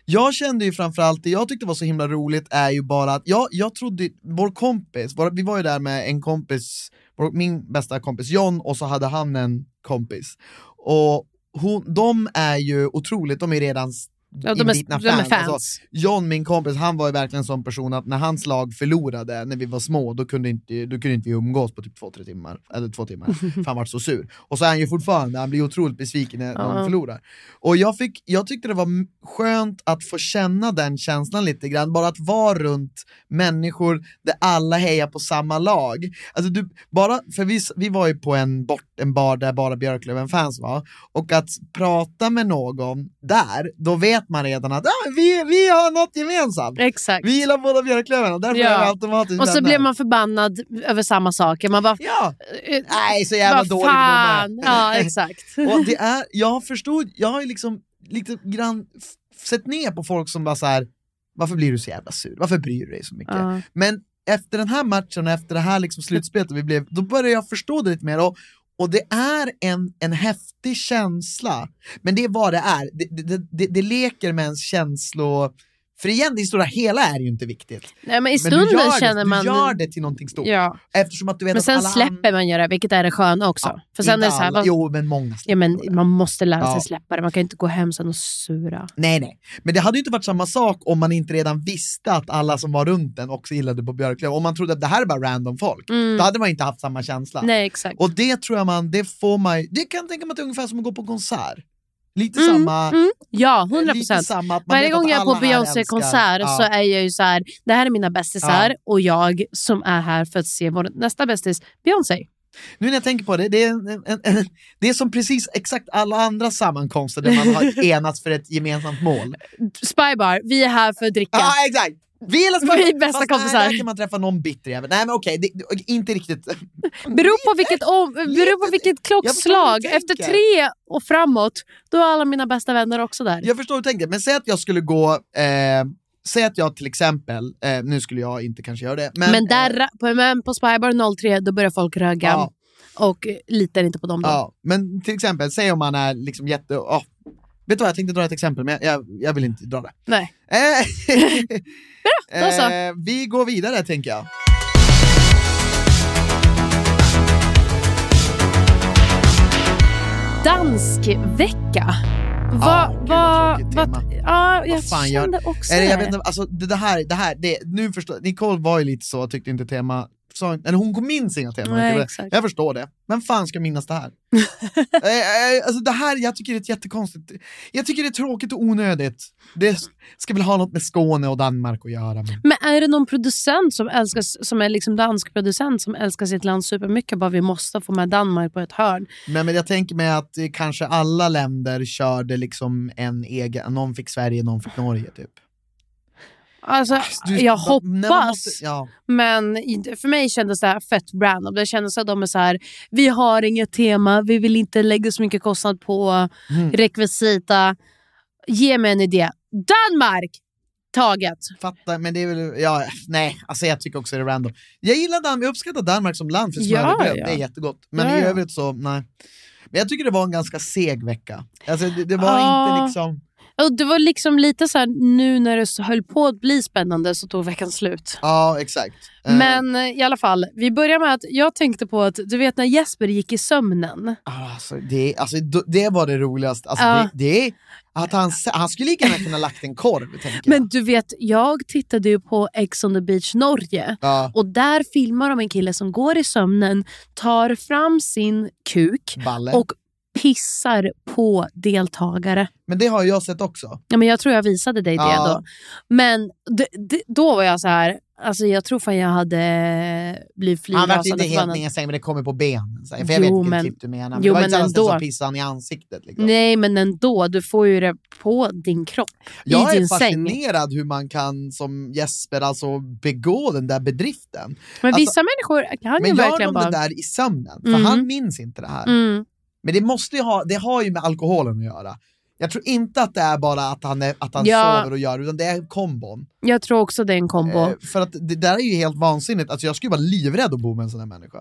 Speaker 2: jag kände ju framförallt, det jag tyckte var så himla roligt är ju bara att jag, jag trodde, vår kompis, vår, vi var ju där med en kompis, vår, min bästa kompis John och så hade han en kompis. Och hon, de är ju otroligt, de är ju redan s-
Speaker 1: Ja, de, är,
Speaker 2: inbitna
Speaker 1: de är
Speaker 2: fans. Alltså,
Speaker 1: fans.
Speaker 2: John, min kompis, han var ju verkligen en sån person att när hans lag förlorade när vi var små, då kunde inte, då kunde inte vi umgås på typ två, tre timmar. Eller två timmar, för han var så sur. Och så är han ju fortfarande, han blir otroligt besviken när de
Speaker 1: Ja.
Speaker 2: förlorar. Och jag, fick, jag tyckte det var m- skönt att få känna den känslan lite grann, bara att vara runt människor där alla hejar på samma lag. Alltså du, bara, för vi, s- vi var ju på en, bort, en bar där bara Björklöven-fans var, och att prata med någon där, då vet man redan att ah, vi, vi har något gemensamt.
Speaker 1: Exakt.
Speaker 2: Vi gillar båda Björklöven och därför
Speaker 1: Ja.
Speaker 2: är vi automatiskt
Speaker 1: Och så
Speaker 2: vänner.
Speaker 1: blir man förbannad över samma saker. Man bara,
Speaker 2: Ja,
Speaker 1: eh,
Speaker 2: nej så jävla
Speaker 1: vad
Speaker 2: dålig de är.
Speaker 1: fan. Ja, exakt.
Speaker 2: Och det är, jag förstod, jag har ju liksom lite grann f- sett ner på folk som bara så här. varför blir du så jävla sur? Varför bryr du dig så mycket?
Speaker 1: Ja.
Speaker 2: Men efter den här matchen och efter det här liksom slutspelet vi blev, då började jag förstå det lite mer. Och, och det är en, en häftig känsla, men det är vad det är. Det, det, det- det, det leker med ens känslor. För igen, det stora hela är ju inte viktigt.
Speaker 1: Nej, men I
Speaker 2: men du
Speaker 1: stunden
Speaker 2: gör, det,
Speaker 1: känner
Speaker 2: du
Speaker 1: man...
Speaker 2: gör det till någonting stort.
Speaker 1: ja.
Speaker 2: Eftersom att du vet
Speaker 1: Men
Speaker 2: att
Speaker 1: sen
Speaker 2: alla
Speaker 1: släpper man ju det, vilket är det sköna också.
Speaker 2: Ja,
Speaker 1: För sen
Speaker 2: inte
Speaker 1: är det så här,
Speaker 2: alla,
Speaker 1: vad-
Speaker 2: Jo, men många
Speaker 1: ja, men
Speaker 2: släpper det.
Speaker 1: man måste lära sig
Speaker 2: Ja.
Speaker 1: släppa det. Man kan ju inte gå hem sen och sura.
Speaker 2: Nej, nej. Men det hade ju inte varit samma sak om man inte redan visste att alla som var runt en också gillade på Björklöven. Om man trodde att det här är bara random folk,
Speaker 1: Mm.
Speaker 2: då hade man inte haft samma känsla.
Speaker 1: Nej, exakt.
Speaker 2: Och det tror jag man, det får man Det kan jag tänka mig att det är ungefär som att gå på konsert. Lite
Speaker 1: Mm,
Speaker 2: samma...
Speaker 1: mm. Ja, 100
Speaker 2: Lite
Speaker 1: procent.
Speaker 2: samma att man
Speaker 1: Varje
Speaker 2: vet att
Speaker 1: gång jag är
Speaker 2: alla
Speaker 1: på
Speaker 2: här
Speaker 1: Beyoncé-konsert
Speaker 2: älskar-
Speaker 1: så
Speaker 2: Ja.
Speaker 1: är jag ju så här, det här är mina bästisar
Speaker 2: Ja.
Speaker 1: och jag som är här för att se vår nästa bästis, Beyoncé.
Speaker 2: Nu när jag tänker på det, det är, en, en, en, det är som precis exakt alla andra sammankomster där man har enats för ett gemensamt mål.
Speaker 1: Spybar, vi är här för att dricka.
Speaker 2: Ja, ah, exakt! Vi är
Speaker 1: Vi är bästa
Speaker 2: Fast
Speaker 1: kompisar.
Speaker 2: Nej, där kan man träffa någon bitter jävel. Nej, men okej, det, det, inte riktigt.
Speaker 1: Beror på vilket, om, beror på vilket
Speaker 2: vad
Speaker 1: klockslag.
Speaker 2: du
Speaker 1: Efter
Speaker 2: tänker.
Speaker 1: tre och framåt, då är alla mina bästa vänner också där.
Speaker 2: Jag förstår hur du tänker, men säg att jag skulle gå, eh, säg att jag till exempel, eh, nu skulle jag inte kanske göra det, men,
Speaker 1: men, där,
Speaker 2: eh,
Speaker 1: på, men på Spybar 03, då börjar folk röga.
Speaker 2: Ja.
Speaker 1: Och eh, litar inte på dem då.
Speaker 2: ja, men till exempel, säg om man är liksom jätte, ja, vet du vad jag tänkte dra ett exempel men jag, jag, jag vill inte dra det.
Speaker 1: Nej.
Speaker 2: Eh,
Speaker 1: då så.
Speaker 2: eh, vi går vidare tänker jag.
Speaker 1: Danskvecka. Va, va,
Speaker 2: gud, vad tråkigt
Speaker 1: va,
Speaker 2: tema.
Speaker 1: ja, jag
Speaker 2: Vad fan gör-
Speaker 1: kände också
Speaker 2: Eller, jag vet
Speaker 1: det.
Speaker 2: inte, alltså, det, det här, det här det, nu förstår, Nicole var ju lite så, tyckte inte tema, sa, eller hon minns inga teman.
Speaker 1: Nej,
Speaker 2: jag-
Speaker 1: exakt.
Speaker 2: jag förstår det. Vem fan ska minnas det här? eh, eh, alltså, det här, jag tycker det är ett jättekonstigt, jag tycker det är tråkigt och onödigt. Det ska väl ha något med Skåne och Danmark att göra. Men...
Speaker 1: Men är det någon producent som, älskar, som är liksom dansk producent som älskar sitt land supermycket bara vi måste få med Danmark på ett hörn?
Speaker 2: Nej, men jag tänker mig att eh, kanske alla länder körde liksom en egen, någon fick Sverige, någon fick Norge typ.
Speaker 1: Alltså,
Speaker 2: Du-
Speaker 1: jag
Speaker 2: när man
Speaker 1: hoppas,
Speaker 2: måste- ja.
Speaker 1: men inte- för mig kändes det här fett random. Det kändes att de är så här, vi har inget tema, vi vill inte lägga så mycket kostnad på
Speaker 2: Mm.
Speaker 1: rekvisita. Ge mig en idé. Danmark! Taget.
Speaker 2: Fattar, men det är väl, ja, nej, alltså jag tycker också det är random. Jag gillar Danmark, jag uppskattar Danmark som land för
Speaker 1: Ja,
Speaker 2: smörrebröd,
Speaker 1: ja.
Speaker 2: det är jättegott. Men
Speaker 1: Ja,
Speaker 2: i
Speaker 1: ja.
Speaker 2: övrigt så, nej. Men jag tycker det var en ganska seg vecka. Alltså det, det var
Speaker 1: Ja.
Speaker 2: inte liksom,
Speaker 1: Och det var liksom lite så här, nu när det så höll på att bli spännande så tog veckan slut.
Speaker 2: ja exakt. Eh,
Speaker 1: Men eh, i alla fall, vi börjar med att jag tänkte på att du vet när Jesper gick i sömnen.
Speaker 2: alltså, det, alltså, d- det var det roligaste. Alltså,
Speaker 1: Ja.
Speaker 2: det, det, att han, s- han skulle lika gärna kunna lagt en korv, tänker
Speaker 1: Men
Speaker 2: jag.
Speaker 1: du vet, jag tittade ju på Ex on the beach Norge
Speaker 2: Ja,
Speaker 1: och där filmar de en kille som går i sömnen, tar fram sin kuk
Speaker 2: balle.
Speaker 1: och pissar på deltagare.
Speaker 2: Men det har jag sett också.
Speaker 1: Ja, men jag tror jag visade dig det
Speaker 2: Ja.
Speaker 1: då. Men d- d- då var jag så här, alltså jag tror fan jag hade blivit
Speaker 2: Han vart inte
Speaker 1: flygrasande
Speaker 2: helt
Speaker 1: förbannad.
Speaker 2: nere i sängen, men det kommer på benen. så här, För jag
Speaker 1: Jo,
Speaker 2: vet vilken
Speaker 1: men-
Speaker 2: typ du menar. Men
Speaker 1: jo,
Speaker 2: det var
Speaker 1: men
Speaker 2: inte så att
Speaker 1: ändå.
Speaker 2: han pissade han i ansiktet. Liksom.
Speaker 1: Nej, men ändå. Du får ju det på din kropp.
Speaker 2: Jag
Speaker 1: i
Speaker 2: är
Speaker 1: din säng.
Speaker 2: fascinerad hur man kan som Jesper alltså begå den där bedriften.
Speaker 1: Men
Speaker 2: Alltså,
Speaker 1: vissa människor kan
Speaker 2: Men
Speaker 1: ju
Speaker 2: gör
Speaker 1: verkligen
Speaker 2: de det
Speaker 1: bara...
Speaker 2: där i sömnen? För
Speaker 1: Mhm.
Speaker 2: han minns inte det här.
Speaker 1: Mm.
Speaker 2: Men det, måste ju ha, det har ju med alkoholen att göra. Jag tror inte att det är bara att han, är, att han
Speaker 1: Ja.
Speaker 2: sover och gör utan det är kombon.
Speaker 1: Jag tror också det är en kombo.
Speaker 2: Eh, för att det där är ju helt vansinnigt. Alltså jag skulle vara livrädd att bo med en sån här människa.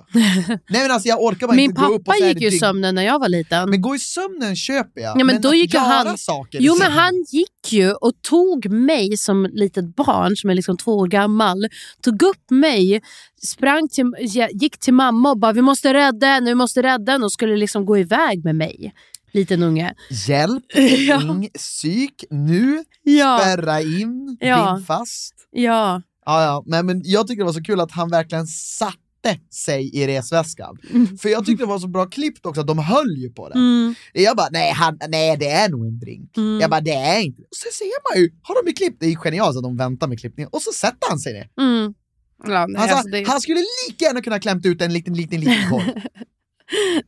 Speaker 2: Nej men alltså jag orkar bara
Speaker 1: Min
Speaker 2: inte gå upp och
Speaker 1: pappa
Speaker 2: så här
Speaker 1: gick ju i
Speaker 2: dygn-
Speaker 1: sömnen när jag var liten.
Speaker 2: Men gå i sömnen köper jag.
Speaker 1: Ja, men då
Speaker 2: att
Speaker 1: gick ju
Speaker 2: göra
Speaker 1: han-
Speaker 2: Saker i
Speaker 1: Jo, men
Speaker 2: sömnen.
Speaker 1: han gick ju och tog mig som litet barn, som är liksom två år gammal, tog upp mig, sprang till, gick till mamma och bara “vi måste rädda henne, vi måste rädda henne” och skulle liksom gå iväg med mig. Liten unge.
Speaker 2: Hjälp,
Speaker 1: Ja.
Speaker 2: ring, psyk, nu,
Speaker 1: Ja,
Speaker 2: spärra in,
Speaker 1: Ja.
Speaker 2: bind fast.
Speaker 1: ja.
Speaker 2: Ja, ja. Nej, men jag tycker det var så kul att han verkligen satte sig i resväskan. För jag tyckte det var så bra klippt också, att de höll ju på det.
Speaker 1: Mm,
Speaker 2: Jag bara, nej, han, nej det är nog en drink.
Speaker 1: mm,
Speaker 2: Jag bara, det är inte. Och sen ser man ju, har de ju klippt, det är ju genialt att de väntar med klippningen. Och så sätter han sig ner.
Speaker 1: mm. Ja, nej,
Speaker 2: Han, sa,
Speaker 1: alltså, det är
Speaker 2: han skulle lika gärna kunna klämt ut en liten, liten, liten korv.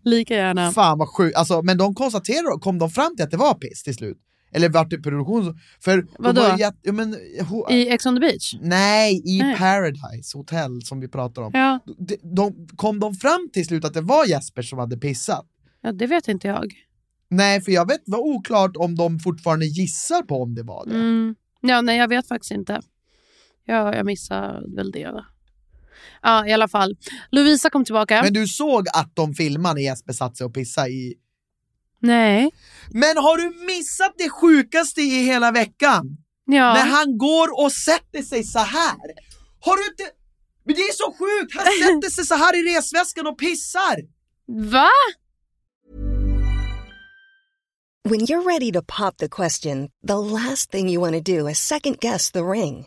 Speaker 1: lika gärna.
Speaker 2: Fan vad sjukt. Alltså, men de konstaterade, kom de fram till att det var piss till slut? Eller vart det produktion? För de
Speaker 1: Vadå?
Speaker 2: var ju jätte- ja, men, ho-
Speaker 1: I Ex on the beach?
Speaker 2: Nej, i
Speaker 1: Nej.
Speaker 2: Paradise Hotel som vi pratar om.
Speaker 1: Ja,
Speaker 2: de, de, kom de fram till slut att det var Jesper som hade pissat?
Speaker 1: ja, det vet inte jag.
Speaker 2: Nej, för jag vet, det var oklart om de fortfarande gissar på om det var det.
Speaker 1: Mm. Ja, nej, jag vet faktiskt inte. Ja, jag missade väl det. då. Ja, i alla fall. Lovisa kom tillbaka.
Speaker 2: Men du såg att de filmade när Jesper satt sig och pissade i...
Speaker 1: Nej.
Speaker 2: Men har du missat det sjukaste i hela veckan?
Speaker 1: Ja.
Speaker 2: När han går och sätter sig så här. Har du inte... Men det är så sjukt! Han sätter sig så här i resväskan och pissar!
Speaker 1: Va?
Speaker 3: When you're ready to pop the question, the last thing you want to do is second guess the ring.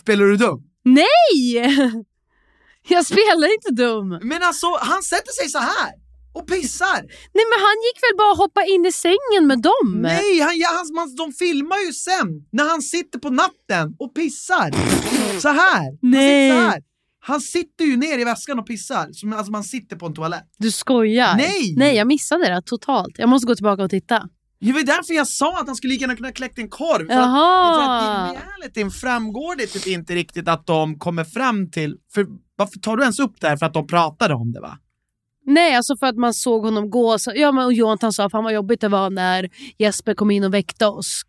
Speaker 2: Spelar du dum?
Speaker 1: Nej! Jag spelar inte dum.
Speaker 2: Men alltså, han sätter sig så här. och pissar!
Speaker 1: Nej men han gick väl bara och hoppade in i sängen med dem?
Speaker 2: Nej, han, ja, han, man, de filmar ju sen när han sitter på natten och pissar. så här.
Speaker 1: Nej.
Speaker 2: Han sitter, så här. han sitter ju ner i väskan och pissar. Som, alltså man sitter på en toalett.
Speaker 1: Du skojar?
Speaker 2: Nej.
Speaker 1: Nej, jag missade det totalt. Jag måste gå tillbaka och titta.
Speaker 2: Det var därför jag sa att han skulle lika gärna kunna kläckt en korv. För att, för
Speaker 1: Jaha!
Speaker 2: att i realityn framgår det typ inte riktigt att de kommer fram till... För varför tar du ens upp det här? För att de pratade om det va?
Speaker 1: Nej, alltså för att man såg honom gå. Så, ja, men, och Jonathan sa fan vad jobbigt det var när Jesper kom in och väckte oss.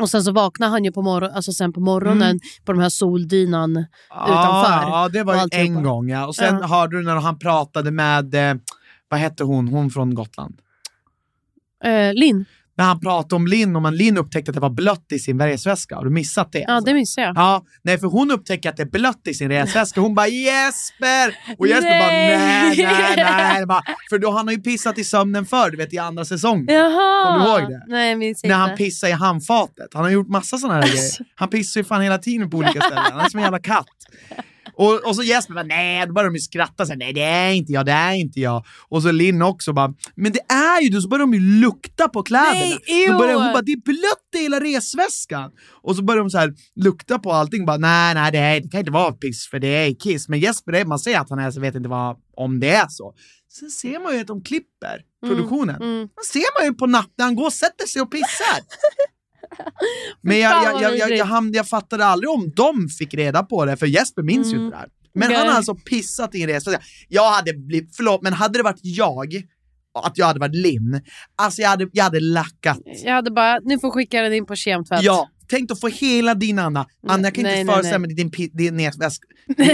Speaker 1: Och sen så vaknade han ju på, morgon, alltså sen på morgonen på den här soldynan. Utanför.
Speaker 2: Mm. Ah, Ja, det
Speaker 1: Och
Speaker 2: var ju
Speaker 1: alltihopa.
Speaker 2: en gång ja. Och sen
Speaker 1: Ja.
Speaker 2: hörde du när han pratade med... Eh, vad hette hon? Hon från Gotland.
Speaker 1: Eh, Linn,
Speaker 2: när han pratade om Linn, om man Linn upptäckte att det var blött i sin resväska. Har du missat det?
Speaker 1: ja det missade jag.
Speaker 2: Ja, nej för hon upptäcker att det är blött i sin resväska. Hon bara Jesper! Och Jesper bara
Speaker 1: Nej.
Speaker 2: nej, nej, nej. Bara, för då han har ju pissat i sömnen förr, du vet i andra säsongen.
Speaker 1: Jaha!
Speaker 2: Kommer du ihåg det?
Speaker 1: Nej, jag minns
Speaker 2: När han
Speaker 1: inte.
Speaker 2: pissar i handfatet. Han har gjort massa sådana här
Speaker 1: Alltså.
Speaker 2: grejer. Han pissar ju fan hela tiden på olika ställen. Han är som en jävla katt. Och, och så Jesper bara nej, då börjar de ju skratta så här, nej det är inte jag, det är inte jag. Och så Linn också bara, men det är ju du, så börjar de ju lukta på kläderna.
Speaker 1: Nej,
Speaker 2: då börjar
Speaker 1: ew.
Speaker 2: hon bara, det är blött i hela resväskan. Och så börjar de så här lukta på allting, bara nej, nej det, är, det kan inte vara piss för det är kiss. Men Jesper, det, man ser att han är så vet inte vad, om det är så. Sen ser man ju att de klipper produktionen.
Speaker 1: Mm.
Speaker 2: Man ser man ju på natten, han går och sätter sig och pissar. Men jag,
Speaker 1: fan
Speaker 2: jag,
Speaker 1: vad
Speaker 2: jag, jag, jag,
Speaker 1: vidrigt.
Speaker 2: hamn- jag fattade aldrig om de fick reda på det, för Jesper minns ju
Speaker 1: Mm.
Speaker 2: inte det här. Men
Speaker 1: Nej.
Speaker 2: han har alltså pissat i en resväska. Jag hade blivit, förlåt, men hade det varit jag, att jag hade varit Linn, alltså jag hade, jag hade lackat.
Speaker 1: Jag hade bara, ni får skicka den in på kemtvätt.
Speaker 2: Ja, tänk att få hela din Anna. Anna, jag kan
Speaker 1: Nej,
Speaker 2: inte
Speaker 1: nej,
Speaker 2: föreställa
Speaker 1: nej.
Speaker 2: mig din, pi- din, resväska,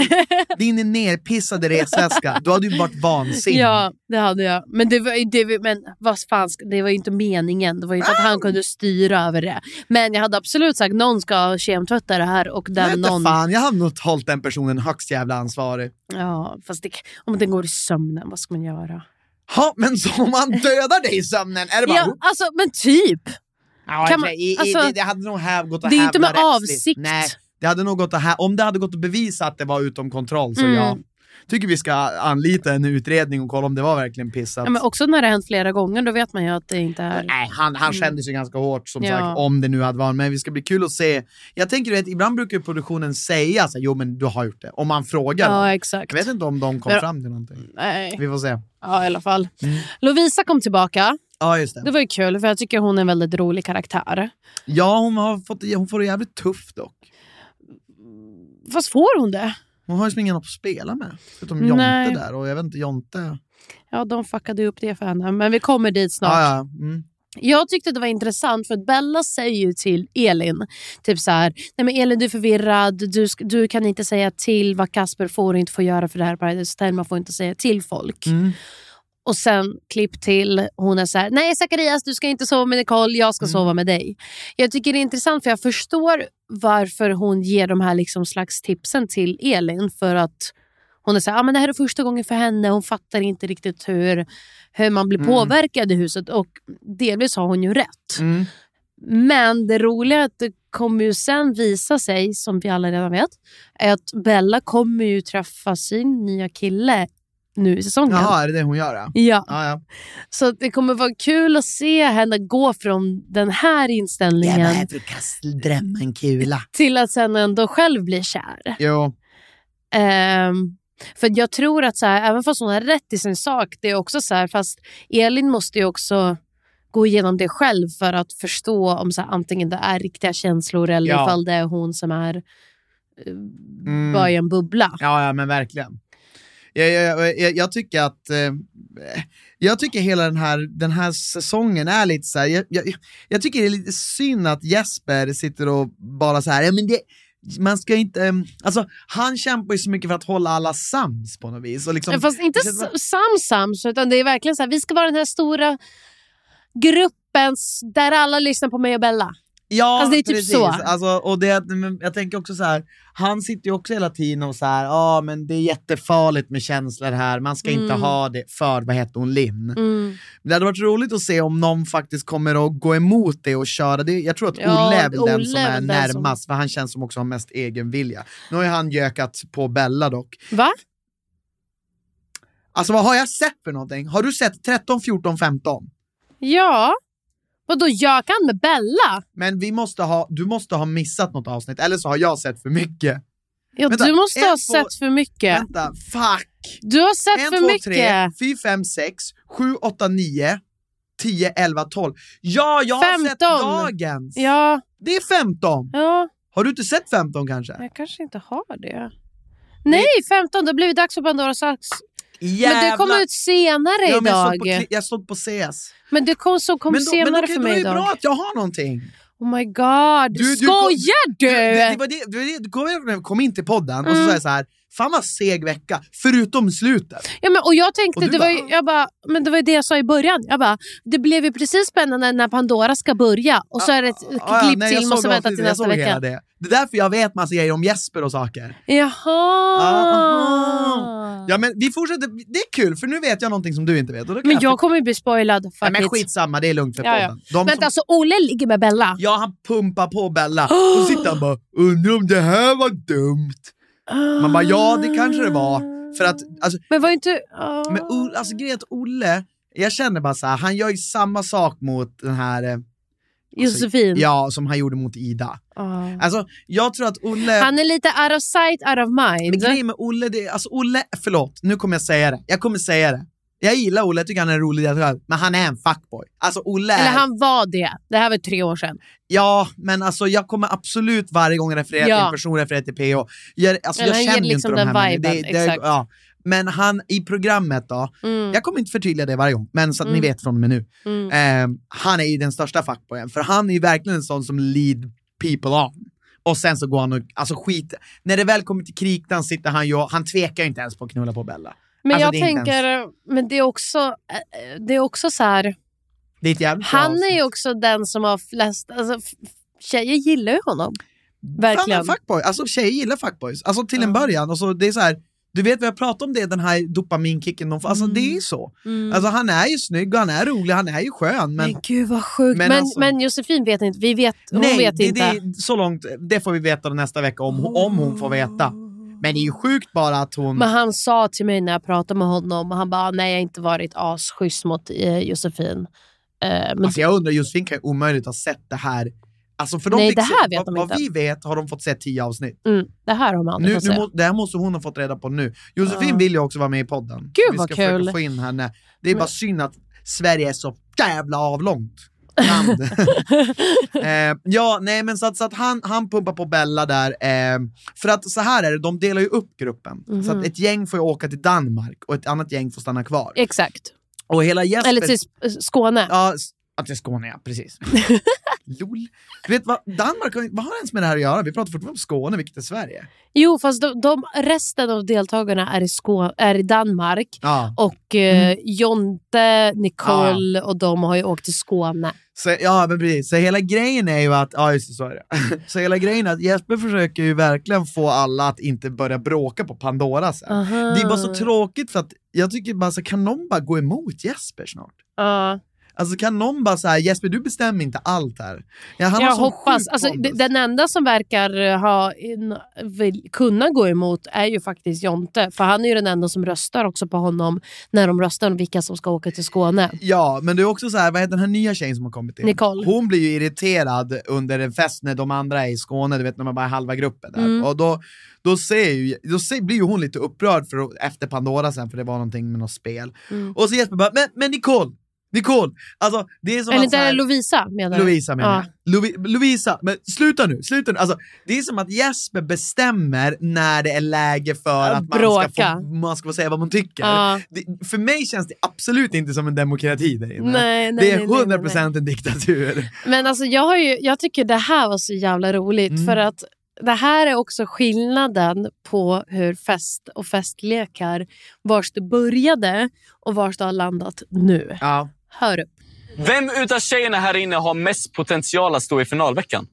Speaker 2: din, din nerpissade resväska. Du hade ju varit vansinnig.
Speaker 1: Ja, det hade jag. Men det var ju, det, var- men vad fan, ska- det var ju inte meningen. Det var ju inte att
Speaker 2: Ah!
Speaker 1: han kunde styra över det. Men jag hade absolut sagt någon ska kemtvätta det här och
Speaker 2: Jag vet
Speaker 1: den
Speaker 2: inte
Speaker 1: någon...
Speaker 2: fan, jag hade nog hållit den personen högst jävla ansvarig.
Speaker 1: Ja, fast det, om den går i sömnen, vad ska man göra?
Speaker 2: Ja, men så om han dödar dig i sömnen, är det bara...
Speaker 1: Ja, alltså, men typ.
Speaker 2: Ja,
Speaker 1: kan man-
Speaker 2: i- i-
Speaker 1: alltså,
Speaker 2: det, det hade nog här gått att
Speaker 1: det är ju inte
Speaker 2: hävda
Speaker 1: med
Speaker 2: rättsligt.
Speaker 1: avsikt.
Speaker 2: Nej, det hade nog gått att här, om det hade gått att bevisa att det var utom kontroll så
Speaker 1: Mm.
Speaker 2: ja. Tycker vi ska anlita en utredning och kolla om det var verkligen pissat.
Speaker 1: Ja, men också när det har hänt flera gånger, då vet man ju att det inte är...
Speaker 2: Nej, han, han kände sig ganska hårt som
Speaker 1: Mm. Ja.
Speaker 2: sagt, om det nu hade varit, men vi ska bli kul att se. Jag tänker att ibland brukar ju produktionen säga så här, jo men du har gjort det, om man frågar.
Speaker 1: Ja,
Speaker 2: dem.
Speaker 1: exakt.
Speaker 2: jag vet inte om de kom
Speaker 1: Ja.
Speaker 2: fram till någonting.
Speaker 1: Nej,
Speaker 2: Vi får se.
Speaker 1: ja, i alla fall.
Speaker 2: Mm.
Speaker 1: Lovisa kom tillbaka.
Speaker 2: Ja, just
Speaker 1: Det
Speaker 2: det.
Speaker 1: var ju kul, för jag tycker hon är en väldigt rolig karaktär.
Speaker 2: Ja, hon, har fått, hon får det jävligt tufft dock.
Speaker 1: Fast får hon det?
Speaker 2: Hon har ju som ingen att spela med, förutom
Speaker 1: Nej.
Speaker 2: Jonte där. Och jag vet inte, Jonte...
Speaker 1: Ja, de fuckade ju upp det för henne, men vi kommer dit snart.
Speaker 2: Ja, ja. Mm.
Speaker 1: Jag tyckte det var intressant för att Bella säger ju till Elin, typ så här, nej men Elin du är förvirrad, du, sk- du kan inte säga till vad Kasper får och inte får göra för det här Paradise Hotel, man får inte säga till folk.
Speaker 2: Mm.
Speaker 1: Och sen klipp till, hon är så här, nej Zacharias du ska inte sova med Nicole, jag ska
Speaker 2: Mm.
Speaker 1: sova med dig. Jag tycker det är intressant för jag förstår varför hon ger de här liksom slags tipsen till Elin för att hon är så här, ah, men det här är första gången för henne, hon fattar inte riktigt hur, hur man blir
Speaker 2: Mm.
Speaker 1: påverkad i huset och delvis har hon ju rätt.
Speaker 2: Mm.
Speaker 1: Men det roliga är att det kommer ju sen visa sig, som vi alla redan vet, är att Bella kommer ju träffa sin nya kille nu i säsongen.
Speaker 2: Jaha, är det det hon gör? Ja.
Speaker 1: Ja,
Speaker 2: Ja, ja.
Speaker 1: så att det kommer vara kul att se henne gå från den här inställningen
Speaker 2: förkastlig drömmenkula.
Speaker 1: till att sen ändå själv bli kär.
Speaker 2: Jo.
Speaker 1: Ehm, för jag tror att så här, även fast hon har rätt i sin sak, det är också så här, fast Elin måste ju också gå igenom det själv för att förstå om så här, antingen det är riktiga känslor eller
Speaker 2: Ja.
Speaker 1: ifall det är hon som är eh,
Speaker 2: Mm.
Speaker 1: bara i en bubbla.
Speaker 2: Ja, ja, men verkligen. Jag, jag, jag, jag tycker att... Eh, jag tycker hela den här, den här säsongen är lite så här... Jag, jag, jag tycker det är lite synd att Jesper sitter och bara så här... Ja, men det, man ska inte... ehm, Alltså, han kämpar ju så mycket för att hålla alla sams på något vis. Och liksom,
Speaker 1: Fast inte
Speaker 2: det känns som-
Speaker 1: s- sams-sams, utan det är verkligen så här, vi ska vara den här stora gruppen s- där alla lyssnar på mig och Bella.
Speaker 2: Ja,
Speaker 1: Alltså, det är typ
Speaker 2: precis.
Speaker 1: så.
Speaker 2: Alltså, och det, men jag tänker också så här, han sitter ju också hela tiden och så här, ja men det är jättefarligt med känslor här, man ska inte
Speaker 1: Mm.
Speaker 2: ha det för, vad hette hon, Linn? Det hade varit roligt att se om någon faktiskt kommer att gå emot det och köra det. Jag tror att
Speaker 1: Ja,
Speaker 2: Olle är väl den
Speaker 1: Olle
Speaker 2: som
Speaker 1: är
Speaker 2: är
Speaker 1: väl den som-
Speaker 2: närmast, för han känns som också har mest egen vilja. Nu har ju han gökat på Bella dock.
Speaker 1: Va?
Speaker 2: Alltså vad har jag sett för någonting? Har du sett 13, 14, 15?
Speaker 1: Ja. Vadå, jag kan med Bella?
Speaker 2: Men vi måste ha, du måste ha missat något avsnitt, eller så har jag sett för mycket.
Speaker 1: Ja,
Speaker 2: Vänta,
Speaker 1: du måste
Speaker 2: en,
Speaker 1: ha
Speaker 2: två-
Speaker 1: sett för mycket.
Speaker 2: Vänta, fuck!
Speaker 1: Du har sett
Speaker 2: en
Speaker 1: för
Speaker 2: två
Speaker 1: mycket.
Speaker 2: tre fyra fem sex sju åtta nio tio elva tolv Ja, jag har sett
Speaker 1: 15.
Speaker 2: dagens!
Speaker 1: Ja,
Speaker 2: Det är 15!
Speaker 1: ja,
Speaker 2: Har du inte sett 15 kanske?
Speaker 1: jag kanske inte har det. Nej, 15. Det har blivit dags för Pandoras ask.
Speaker 2: Jävlar.
Speaker 1: Men det kom ut senare
Speaker 2: ja, men jag,
Speaker 1: idag.
Speaker 2: såg på, kli- jag såg på CS.
Speaker 1: men det kom, som kom
Speaker 2: men då,
Speaker 1: senare
Speaker 2: men okej,
Speaker 1: för
Speaker 2: då är
Speaker 1: mig
Speaker 2: det
Speaker 1: idag.
Speaker 2: bra att jag har någonting.
Speaker 1: Oh my god.
Speaker 2: Du- du kom-
Speaker 1: Skojar du?
Speaker 2: Det, det var det, det, var det, du kom, ihåg när jag kom in till podden och så
Speaker 1: Mm.
Speaker 2: sa jag så här, fan vad seg vecka, förutom slutet.
Speaker 1: Ja, men, och jag tänkte,
Speaker 2: Och du
Speaker 1: det var, ju-
Speaker 2: bara-
Speaker 1: jag bara, men det var ju det jag sa i början. Jag bara, det blev ju precis spännande när Pandora ska börja och så är det ett
Speaker 2: Ah, ja,
Speaker 1: klipp
Speaker 2: nej, jag
Speaker 1: till,
Speaker 2: såg
Speaker 1: måste vänta
Speaker 2: avsnittet,
Speaker 1: till
Speaker 2: jag
Speaker 1: nästa
Speaker 2: såg
Speaker 1: vecka.
Speaker 2: hela Det. det är därför jag vet massa grejer om Jesper och saker. aha.
Speaker 1: Jaha!
Speaker 2: Ja men vi fortsätter, det är kul för nu vet jag någonting som du inte vet. Och då kan
Speaker 1: men jag
Speaker 2: jag
Speaker 1: kommer ju bli spoilad. Fuck
Speaker 2: Nej, men
Speaker 1: it.
Speaker 2: skitsamma, det är lugnt för
Speaker 1: Ja, ja.
Speaker 2: podden. De som-
Speaker 1: Vänta, alltså Olle ligger med Bella?
Speaker 2: Ja, han pumpar på Bella och sitter han bara “Undrar om det här var dumt?” Man bara “Ja, det kanske det var”. För att, alltså,
Speaker 1: Men var ju inte... ah.
Speaker 2: men, O- alltså grejen är att Olle, jag känner bara så här, han gör ju samma sak mot den här, eh,
Speaker 1: Josefin.
Speaker 2: ja, som han gjorde mot Ida.
Speaker 1: Ah.
Speaker 2: Alltså, jag tror att Olle...
Speaker 1: Han är lite out of sight, out of
Speaker 2: Men
Speaker 1: mind.
Speaker 2: grejen med Olle, det, är- alltså Olle, förlåt, nu kommer jag säga det. Jag kommer säga det. Jag gillar Olle, jag tycker han är en rolig deltagare, men han är en fuckboy. Alltså Olle är,
Speaker 1: Eller han var det. Det här var tre år sedan.
Speaker 2: ja, men alltså jag kommer absolut varje gång referera till
Speaker 1: Ja.
Speaker 2: en person, referera till PH. Jag, alltså,
Speaker 1: Eller
Speaker 2: jag
Speaker 1: han
Speaker 2: känner
Speaker 1: ger
Speaker 2: ju
Speaker 1: liksom
Speaker 2: inte de
Speaker 1: den
Speaker 2: här
Speaker 1: viben,
Speaker 2: människorna. Det- det-
Speaker 1: exakt.
Speaker 2: ja. Men han i programmet då,
Speaker 1: Mm.
Speaker 2: jag kommer inte förtydliga det varje gång, men så att ni
Speaker 1: Mm.
Speaker 2: vet från och med nu.
Speaker 1: Mm.
Speaker 2: Ehm, han är ju den största fuckboyen, för han är ju verkligen en sån som lead people on. Och sen så går han och, alltså skit, när det väl kommer till kritan sitter han ju och- han tvekar ju inte ens på att knulla på Bella.
Speaker 1: Men
Speaker 2: Alltså,
Speaker 1: jag
Speaker 2: det är inte
Speaker 1: tänker, men det är också, eh, det är också så här...
Speaker 2: Det är ett jävligt bra
Speaker 1: Han är
Speaker 2: avsnitt.
Speaker 1: ju också den som har flest... Alltså, f- tjejer gillar ju honom. Verkligen.
Speaker 2: Fan, fuckboy. Alltså tjejer gillar fuckboys. Alltså till en
Speaker 1: Ja.
Speaker 2: början. Och så, det är så här, du vet vi har pratat om det, den här dopaminkicken de får. Alltså
Speaker 1: Mm.
Speaker 2: det är ju så.
Speaker 1: Mm.
Speaker 2: Alltså han är ju snygg och han är rolig, han är ju skön.
Speaker 1: men,
Speaker 2: Men,
Speaker 1: gud vad sjukt.
Speaker 2: men
Speaker 1: Men, men,
Speaker 2: alltså-
Speaker 1: Josefin vet inte. Vi vet, hon
Speaker 2: nej,
Speaker 1: vet
Speaker 2: det,
Speaker 1: inte.
Speaker 2: Det, är så långt, det får vi veta nästa vecka om, om hon får veta. Men det är ju sjukt bara att hon...
Speaker 1: Men han sa till mig när jag pratade med honom, han bara nej jag har inte varit asschysst mot eh, Josefin. Eh, men
Speaker 2: Alltså jag undrar, Josefin kan ju omöjligt ha sett det här. Alltså för de
Speaker 1: Nej,
Speaker 2: fick
Speaker 1: det
Speaker 2: se-
Speaker 1: här vet
Speaker 2: vad,
Speaker 1: de
Speaker 2: Vad
Speaker 1: inte.
Speaker 2: vi vet har de fått se tio avsnitt.
Speaker 1: mm, det här har man aldrig
Speaker 2: Nu,
Speaker 1: fått
Speaker 2: nu
Speaker 1: säga.
Speaker 2: må, det här måste hon ha fått reda på nu. Josefin
Speaker 1: Ja.
Speaker 2: vill ju också vara med i podden. Gud Vi
Speaker 1: vad
Speaker 2: ska försöka
Speaker 1: kul.
Speaker 2: få in henne. Det är bara
Speaker 1: Men-
Speaker 2: synd att Sverige är så jävla avlångt. land. eh, ja, nej men så att, så att han, han pumpar på Bella där. Eh, för att så här är det, de delar ju upp gruppen. Så
Speaker 1: Mhm.
Speaker 2: att ett gäng får ju åka till Danmark och ett annat gäng får stanna kvar.
Speaker 1: Exakt.
Speaker 2: Och hela Jesper...
Speaker 1: Eller till S- Skåne.
Speaker 2: Ja, s- ja, till Skåne ja, precis. Lol. Du vet vad, Danmark, har- vad har det ens med det här att göra? Vi pratar fortfarande om Skåne, vilket är Sverige.
Speaker 1: Jo fast de, de, resten av deltagarna är i, Skå, är i Danmark.
Speaker 2: Ja.
Speaker 1: Och eh,
Speaker 2: Mm.
Speaker 1: Jonte, Nicole och de har ju åkt till Skåne.
Speaker 2: Så, ja, men precis. Så hela grejen är ju att, ja just det, så är det. Så hela grejen är att Jesper försöker ju verkligen få alla att inte börja bråka på Pandora sen.
Speaker 1: Aha.
Speaker 2: Det är bara så tråkigt för att jag tycker bara så här, kan någon bara gå emot Jesper snart?
Speaker 1: Ja.
Speaker 2: Alltså kan någon bara säga Jesper du bestämmer inte allt här. Ja, han har
Speaker 1: Jag
Speaker 2: sån
Speaker 1: hoppas.
Speaker 2: sjuk
Speaker 1: Alltså,
Speaker 2: pondus.
Speaker 1: d- den enda som verkar eh, ha, in, vill, kunna gå emot är ju faktiskt Jonte. För han är ju den enda som röstar också på honom när de röstar om vilka som ska åka till Skåne.
Speaker 2: Ja, men det är också så här, vad heter den här nya tjejen som har kommit in?
Speaker 1: Nicole.
Speaker 2: Hon blir ju irriterad under en fest när de andra är i Skåne, du vet när man bara är halva gruppen där.
Speaker 1: Mm.
Speaker 2: Och då, då, ser ju, då ser, blir ju hon lite upprörd för, efter Pandora sen, för det var någonting med något spel.
Speaker 1: Mm.
Speaker 2: Och så Jesper bara, men, men Nicole, Nicole! Alltså det är som
Speaker 1: Eller
Speaker 2: att
Speaker 1: inte
Speaker 2: så här,
Speaker 1: Lovisa menar du?
Speaker 2: Lovisa menar
Speaker 1: Ja.
Speaker 2: jag. Lovi, Lovisa, men sluta nu, sluta nu. Alltså, det är som att Jesper bestämmer när det är läge för
Speaker 1: Att
Speaker 2: att man ska,
Speaker 1: bråka.
Speaker 2: få, man ska få säga vad man tycker.
Speaker 1: Ja.
Speaker 2: Det, för mig känns det absolut inte som en demokrati där inne.
Speaker 1: Nej, nej,
Speaker 2: det är
Speaker 1: nej, nej,
Speaker 2: 100%
Speaker 1: nej, nej.
Speaker 2: en diktatur.
Speaker 1: Men alltså, jag, har ju, jag tycker det här var så jävla roligt.
Speaker 2: Mm.
Speaker 1: För att det här är också skillnaden på hur fest och festlekar, vars det började och vars det har landat nu.
Speaker 2: Ja.
Speaker 1: Hör upp.
Speaker 4: Vem utav tjejerna här inne har mest potential att stå i finalveckan?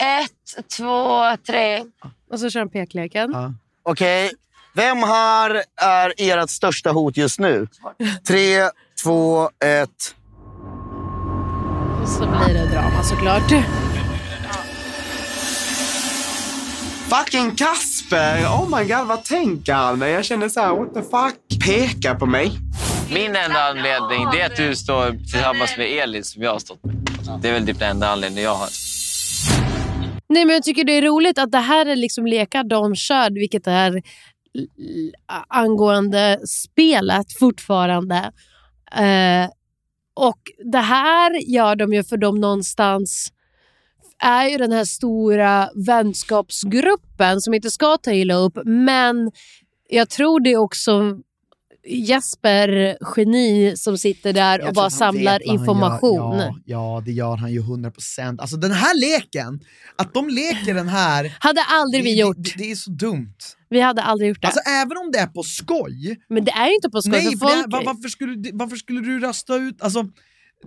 Speaker 5: Ett, två, tre.
Speaker 1: Och så kör han pekleken.
Speaker 2: Ja.
Speaker 6: Okej. Vem här är ert största hot just nu? Tre, två, ett.
Speaker 1: Och så blir det drama såklart.
Speaker 7: Fucking Kasper! Oh my god, vad tänker han? Jag känner så här, what the fuck? Pekar på mig.
Speaker 8: Min enda anledning det är att du står tillsammans med Elin som jag har stått med. Det är väl typ den enda anledningen jag har.
Speaker 1: Nej, men jag tycker det är roligt att det här är liksom lekar de kör, vilket är l- angående spelet fortfarande. Eh, och det här gör de ju för de någonstans är ju den här stora vänskapsgruppen som inte ska ta illa upp, men jag tror det är också Jesper, geni, som sitter där och
Speaker 2: Jag
Speaker 1: bara
Speaker 2: tror att han
Speaker 1: samlar
Speaker 2: vet vad han
Speaker 1: information.
Speaker 2: Gör. Ja, ja, det gör han ju 100 procent. Alltså den här leken, att de leker den här...
Speaker 1: Hade aldrig vi
Speaker 2: det,
Speaker 1: gjort.
Speaker 2: Det, det är så dumt.
Speaker 1: Vi hade aldrig gjort det.
Speaker 2: Alltså även om det är på skoj.
Speaker 1: Men det är ju inte på skoj.
Speaker 2: Nej,
Speaker 1: för
Speaker 2: för det,
Speaker 1: folk...
Speaker 2: va- varför, skulle, du- varför skulle du rösta ut... Alltså,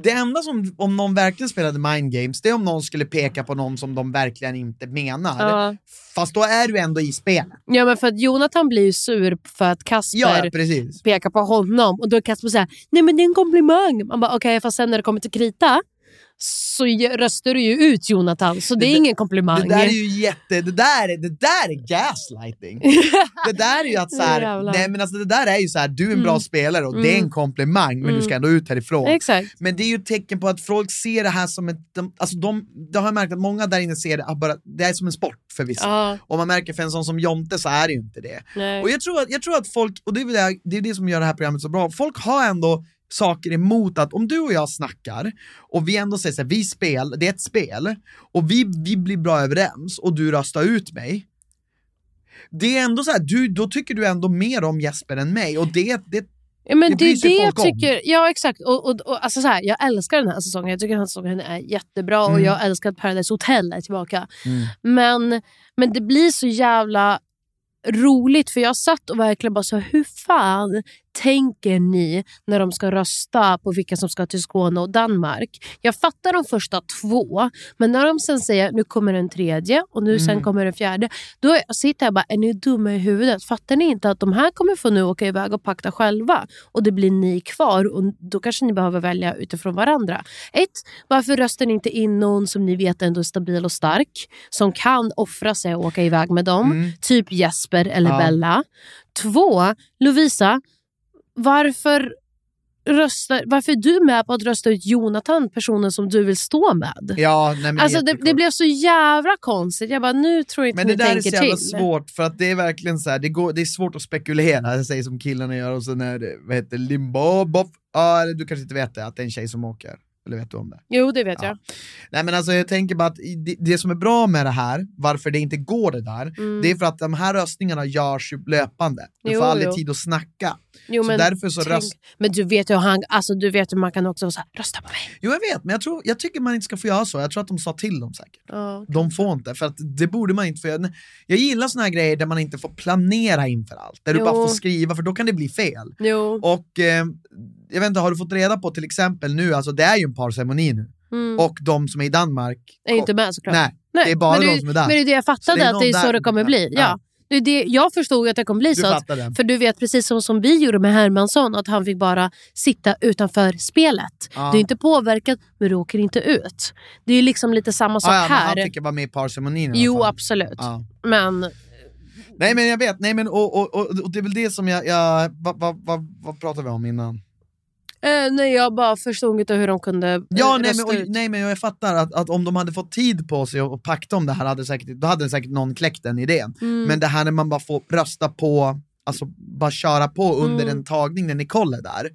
Speaker 2: det enda som, om någon verkligen spelade mind games, det är om någon skulle peka på någon som de verkligen inte menar.
Speaker 1: Ja.
Speaker 2: Fast då är du ändå i spelet.
Speaker 1: Ja, men för att Jonathan blir ju sur för att Kasper
Speaker 2: Ja, ja, precis.
Speaker 1: pekar på honom. Och då är Kasper såhär, nej men det är en komplimang. Man bara, okej, fast sen när det kommer till krita så ge- röstar du ju ut Jonathan, så det är ingen komplimang.
Speaker 2: Det där är ju jätte... Det där, är- det där är gaslighting. det där är ju att så här,
Speaker 1: Jävlar.
Speaker 2: nej men alltså det där är ju så här, du är en bra
Speaker 1: Mm.
Speaker 2: spelare och det är en
Speaker 1: Mm.
Speaker 2: komplimang men du ska ändå ut härifrån.
Speaker 1: Exakt.
Speaker 2: Men det är ju ett tecken på att folk ser det här som ett... De, alltså de, det har jag märkt att många där inne ser det, ah, bara, det är som en sport för vissa.
Speaker 1: Ja.
Speaker 2: Och man märker för en sån som Jonte så är det ju inte det.
Speaker 1: Nej.
Speaker 2: Och jag tror, att, jag tror att folk, och det är väl det, det är det som gör det här programmet så bra, folk har ändå saker emot att om du och jag snackar och vi ändå säger så här, vi spel, det är ett spel och vi, vi blir bra överens och du röstar ut mig. Det är ändå så här, du, då tycker du ändå mer om Jesper än mig och det, det
Speaker 1: Ja, men
Speaker 2: Det
Speaker 1: det,
Speaker 2: bryr
Speaker 1: är
Speaker 2: sig
Speaker 1: det jag
Speaker 2: folk om.
Speaker 1: tycker. Ja, exakt. Och, och, och, alltså så här, jag älskar den här säsongen. Jag tycker den här säsongen är jättebra och
Speaker 2: Mm.
Speaker 1: jag älskar att Paradise Hotel är tillbaka. Men, men det blir så jävla roligt för jag satt och verkligen bara så här, hur fan tänker ni när de ska rösta på vilka som ska till Skåne och Danmark? Jag fattar de första två, men när de sen säger nu kommer en tredje och nu sen kommer en fjärde, då är- sitter jag bara, är ni dumma i huvudet? Fattar ni inte att de här kommer få nu åka iväg och pakta själva och det blir ni kvar och då kanske ni behöver välja utifrån varandra. Ett, varför röstar ni inte in någon som ni vet ändå är stabil och stark, som kan offra sig och åka iväg med dem? Typ Jesper eller
Speaker 2: Ja.
Speaker 1: Bella. Två, Lovisa, varför, röstar, varför är du med på att rösta ut Jonathan, personen som du vill stå med?
Speaker 2: Ja, nej, men
Speaker 1: Alltså det,
Speaker 2: jätteklart.
Speaker 1: det blev så jävla konstigt. Jag bara, nu tror jag inte
Speaker 2: Men det
Speaker 1: ni
Speaker 2: där är så
Speaker 1: tänker
Speaker 2: jävla
Speaker 1: till.
Speaker 2: svårt för att det är verkligen så här, det, går, det är svårt att spekulera, jag säger som killarna gör och sen är det, vad heter det, Limbabov, ja eller du kanske inte vet det, att det är en tjej som åker. Eller vet du om det?
Speaker 1: Jo, det vet jag.
Speaker 2: Nej men alltså jag tänker bara att i- det, det som är bra med det här, varför det inte går det där,
Speaker 1: Mm.
Speaker 2: det är för att de här röstningarna görs ju löpande. Du
Speaker 1: Jo,
Speaker 2: får aldrig
Speaker 1: jo.
Speaker 2: tid att snacka.
Speaker 1: Jo,
Speaker 2: så
Speaker 1: men,
Speaker 2: därför så
Speaker 1: tänk-
Speaker 2: röst-
Speaker 1: men du vet ju hur han, alltså, du vet hur man kan också vara så här, rösta på mig.
Speaker 2: Jo jag vet, men jag, tror, jag tycker man inte ska få göra så, jag tror att de sa till dem säkert.
Speaker 1: Ja.
Speaker 2: De får inte, för att det borde man inte få göra. Jag gillar såna här grejer där man inte får planera inför allt, där du
Speaker 1: Jo.
Speaker 2: bara får skriva för då kan det bli fel.
Speaker 1: Jo.
Speaker 2: Och eh, jag vet inte, har du fått reda på till exempel nu, alltså det är ju en parceremoni nu,
Speaker 1: Mm.
Speaker 2: och de som är i Danmark,
Speaker 1: är inte med såklart.
Speaker 2: nej, det är bara
Speaker 1: men
Speaker 2: de som är där.
Speaker 1: Men det är det jag
Speaker 2: Så
Speaker 1: fattade,
Speaker 2: det är
Speaker 1: att det är
Speaker 2: någon
Speaker 1: så
Speaker 2: där
Speaker 1: det kommer
Speaker 2: som
Speaker 1: bli.
Speaker 2: är
Speaker 1: Ja.
Speaker 2: där. Ja.
Speaker 1: Det är det, jag förstod ju att det kommer bli
Speaker 2: Du
Speaker 1: så. Att,
Speaker 2: fattar det.
Speaker 1: för du vet precis som, som vi gjorde med Hermansson, att han fick bara sitta utanför spelet.
Speaker 2: Ja.
Speaker 1: Du är inte påverkad, men du åker inte ut. Det är liksom lite samma sak
Speaker 2: ja, ja, men
Speaker 1: här.
Speaker 2: han fick ju vara med i parceremonin i alla
Speaker 1: Jo,
Speaker 2: fall.
Speaker 1: absolut.
Speaker 2: Ja.
Speaker 1: Men
Speaker 2: Nej men jag vet, nej men och, och, och, och det är väl det som jag, jag vad, vad, vad, vad pratade vi om innan?
Speaker 1: eh, nej, jag bara förstod inte hur de kunde eh,
Speaker 2: Ja, nej men,
Speaker 1: rösta ut.
Speaker 2: och, nej men jag faktar att, att om de hade fått tid på sig och, och pakta om det här, hade säkert, då hade säkert någon kläckt den idén.
Speaker 1: Mm.
Speaker 2: Men det här när man bara får rösta på, alltså bara köra på under
Speaker 1: Mm.
Speaker 2: en tagning när Nicole är där,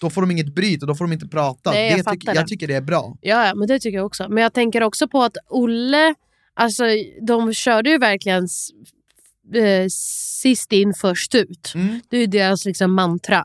Speaker 2: då får de inget bryt och då får de inte prata.
Speaker 1: Nej, jag
Speaker 2: det
Speaker 1: fattar
Speaker 2: tycker-
Speaker 1: det.
Speaker 2: jag tycker det är bra.
Speaker 1: Ja, ja, men det tycker jag också. Men jag tänker också på att Olle, alltså de körde ju verkligen s- eh, sist in först ut.
Speaker 2: Mm.
Speaker 1: Det är ju deras liksom mantra.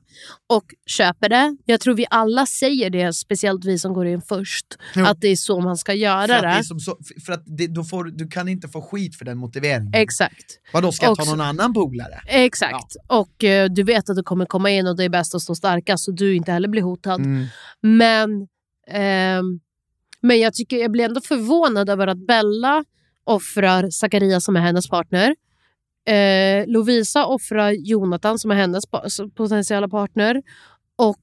Speaker 1: Och köper det. Jag tror vi alla säger det, speciellt vi som går in först.
Speaker 2: Jo.
Speaker 1: Att det är så man ska göra
Speaker 2: För att, det
Speaker 1: det.
Speaker 2: är som så, för att det, då får, du kan inte få skit för den motiveringen.
Speaker 1: Exakt.
Speaker 2: Vadå, ska jag ta
Speaker 1: också-
Speaker 2: någon annan polare?
Speaker 1: Exakt. Och eh, du vet att du kommer komma in och det är bäst att stå starkast så du inte heller blir hotad.
Speaker 2: Mm.
Speaker 1: Men, ehm, men jag, tycker, jag blir ändå förvånad över att Bella offrar Zakaria som är hennes partner. Eh, Lovisa offrar Jonathan som är hennes pa- som potentiella partner. Och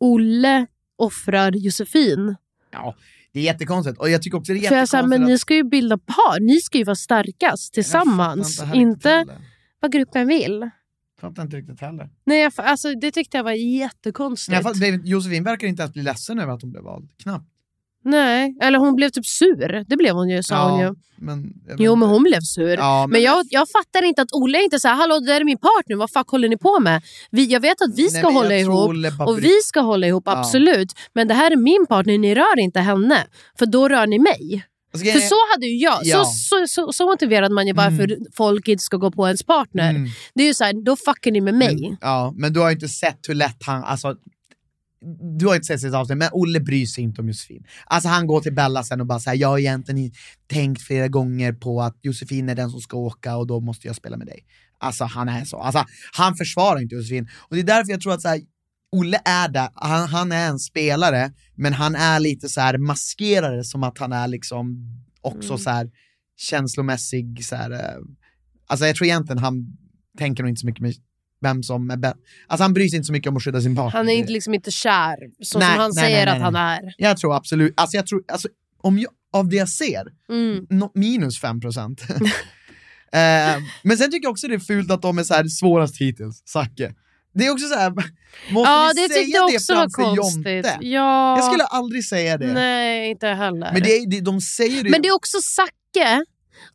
Speaker 1: Olle offrar Josefin.
Speaker 2: Det är jättekonstigt. Och jag tycker också det är
Speaker 1: För jag
Speaker 2: jättekonstigt
Speaker 1: sa, men
Speaker 2: att...
Speaker 1: ni ska ju bilda par, ni ska ju vara starkast tillsammans.
Speaker 2: fattar inte
Speaker 1: inte vad gruppen vill.
Speaker 2: fattar inte riktigt heller.
Speaker 1: Nej, jag, fa- alltså, det tyckte jag var jättekonstigt.
Speaker 2: Jag fattar, David- Josefin verkar inte ens bli ledsen över att hon blev vald. Knappt.
Speaker 1: Nej, eller hon blev typ sur. Det blev hon ju, sa hon ju.
Speaker 2: Men, jag vet
Speaker 1: Jo,
Speaker 2: inte.
Speaker 1: men hon blev sur.
Speaker 2: Ja,
Speaker 1: men
Speaker 2: men-
Speaker 1: jag, jag fattar inte att Olle inte säger hallå det där är min partner, vad fuck håller ni på med? Vi, jag vet att vi
Speaker 2: Nej,
Speaker 1: ska
Speaker 2: men jag
Speaker 1: hålla
Speaker 2: tror
Speaker 1: ihop
Speaker 2: Olle bara
Speaker 1: och
Speaker 2: bry-
Speaker 1: vi ska hålla ihop,
Speaker 2: Ja.
Speaker 1: absolut. Men det här är min partner, ni rör inte henne. För då rör ni mig.
Speaker 2: Alltså,
Speaker 1: För
Speaker 2: grejen är-
Speaker 1: så hade ju jag,
Speaker 2: Ja.
Speaker 1: så, så, så, så motiverade man ju varför folk inte ska gå på ens partner.
Speaker 2: Mm.
Speaker 1: Det är ju så här, då fuckar ni med mig.
Speaker 2: Ja, men du har ju inte sett hur lätt han... Alltså, du har ju inte sett sitt avsnitt, men Olle bryr sig inte om Josefin. Alltså han går till Bella sen och bara säger jag har egentligen tänkt flera gånger på att Josefin är den som ska åka och då måste jag spela med dig. Alltså han är så. Alltså, han försvarar inte Josefin. Och det är därför jag tror att så här, Olle är där, han, han är en spelare, men han är lite så här maskerare som att han är liksom också
Speaker 1: Mm.
Speaker 2: så här känslomässig så här, eh, alltså jag tror egentligen han tänker nog inte så mycket med vem som är bäst. Alltså han bryr sig inte så mycket om att skydda sin partner.
Speaker 1: Han är inte, liksom inte kär, så
Speaker 2: Nej,
Speaker 1: som han
Speaker 2: nej,
Speaker 1: säger
Speaker 2: nej, nej,
Speaker 1: att han
Speaker 2: nej.
Speaker 1: är.
Speaker 2: Jag tror absolut, alltså jag tror, alltså om jag, av det jag ser,
Speaker 1: Mm.
Speaker 2: nå- minus 5 procent. eh, men sen tycker jag också det är fult att de är så här svårast hittills, Zacke. Det är också så här, måste
Speaker 1: Ja,
Speaker 2: vi
Speaker 1: det
Speaker 2: säga
Speaker 1: tyckte jag också var
Speaker 2: framför
Speaker 1: konstigt.
Speaker 2: Jonte?
Speaker 1: Ja.
Speaker 2: Jag skulle aldrig säga det.
Speaker 1: Nej, inte jag heller.
Speaker 2: Men det, är- det, de säger ju...
Speaker 1: Men det är också Zacke.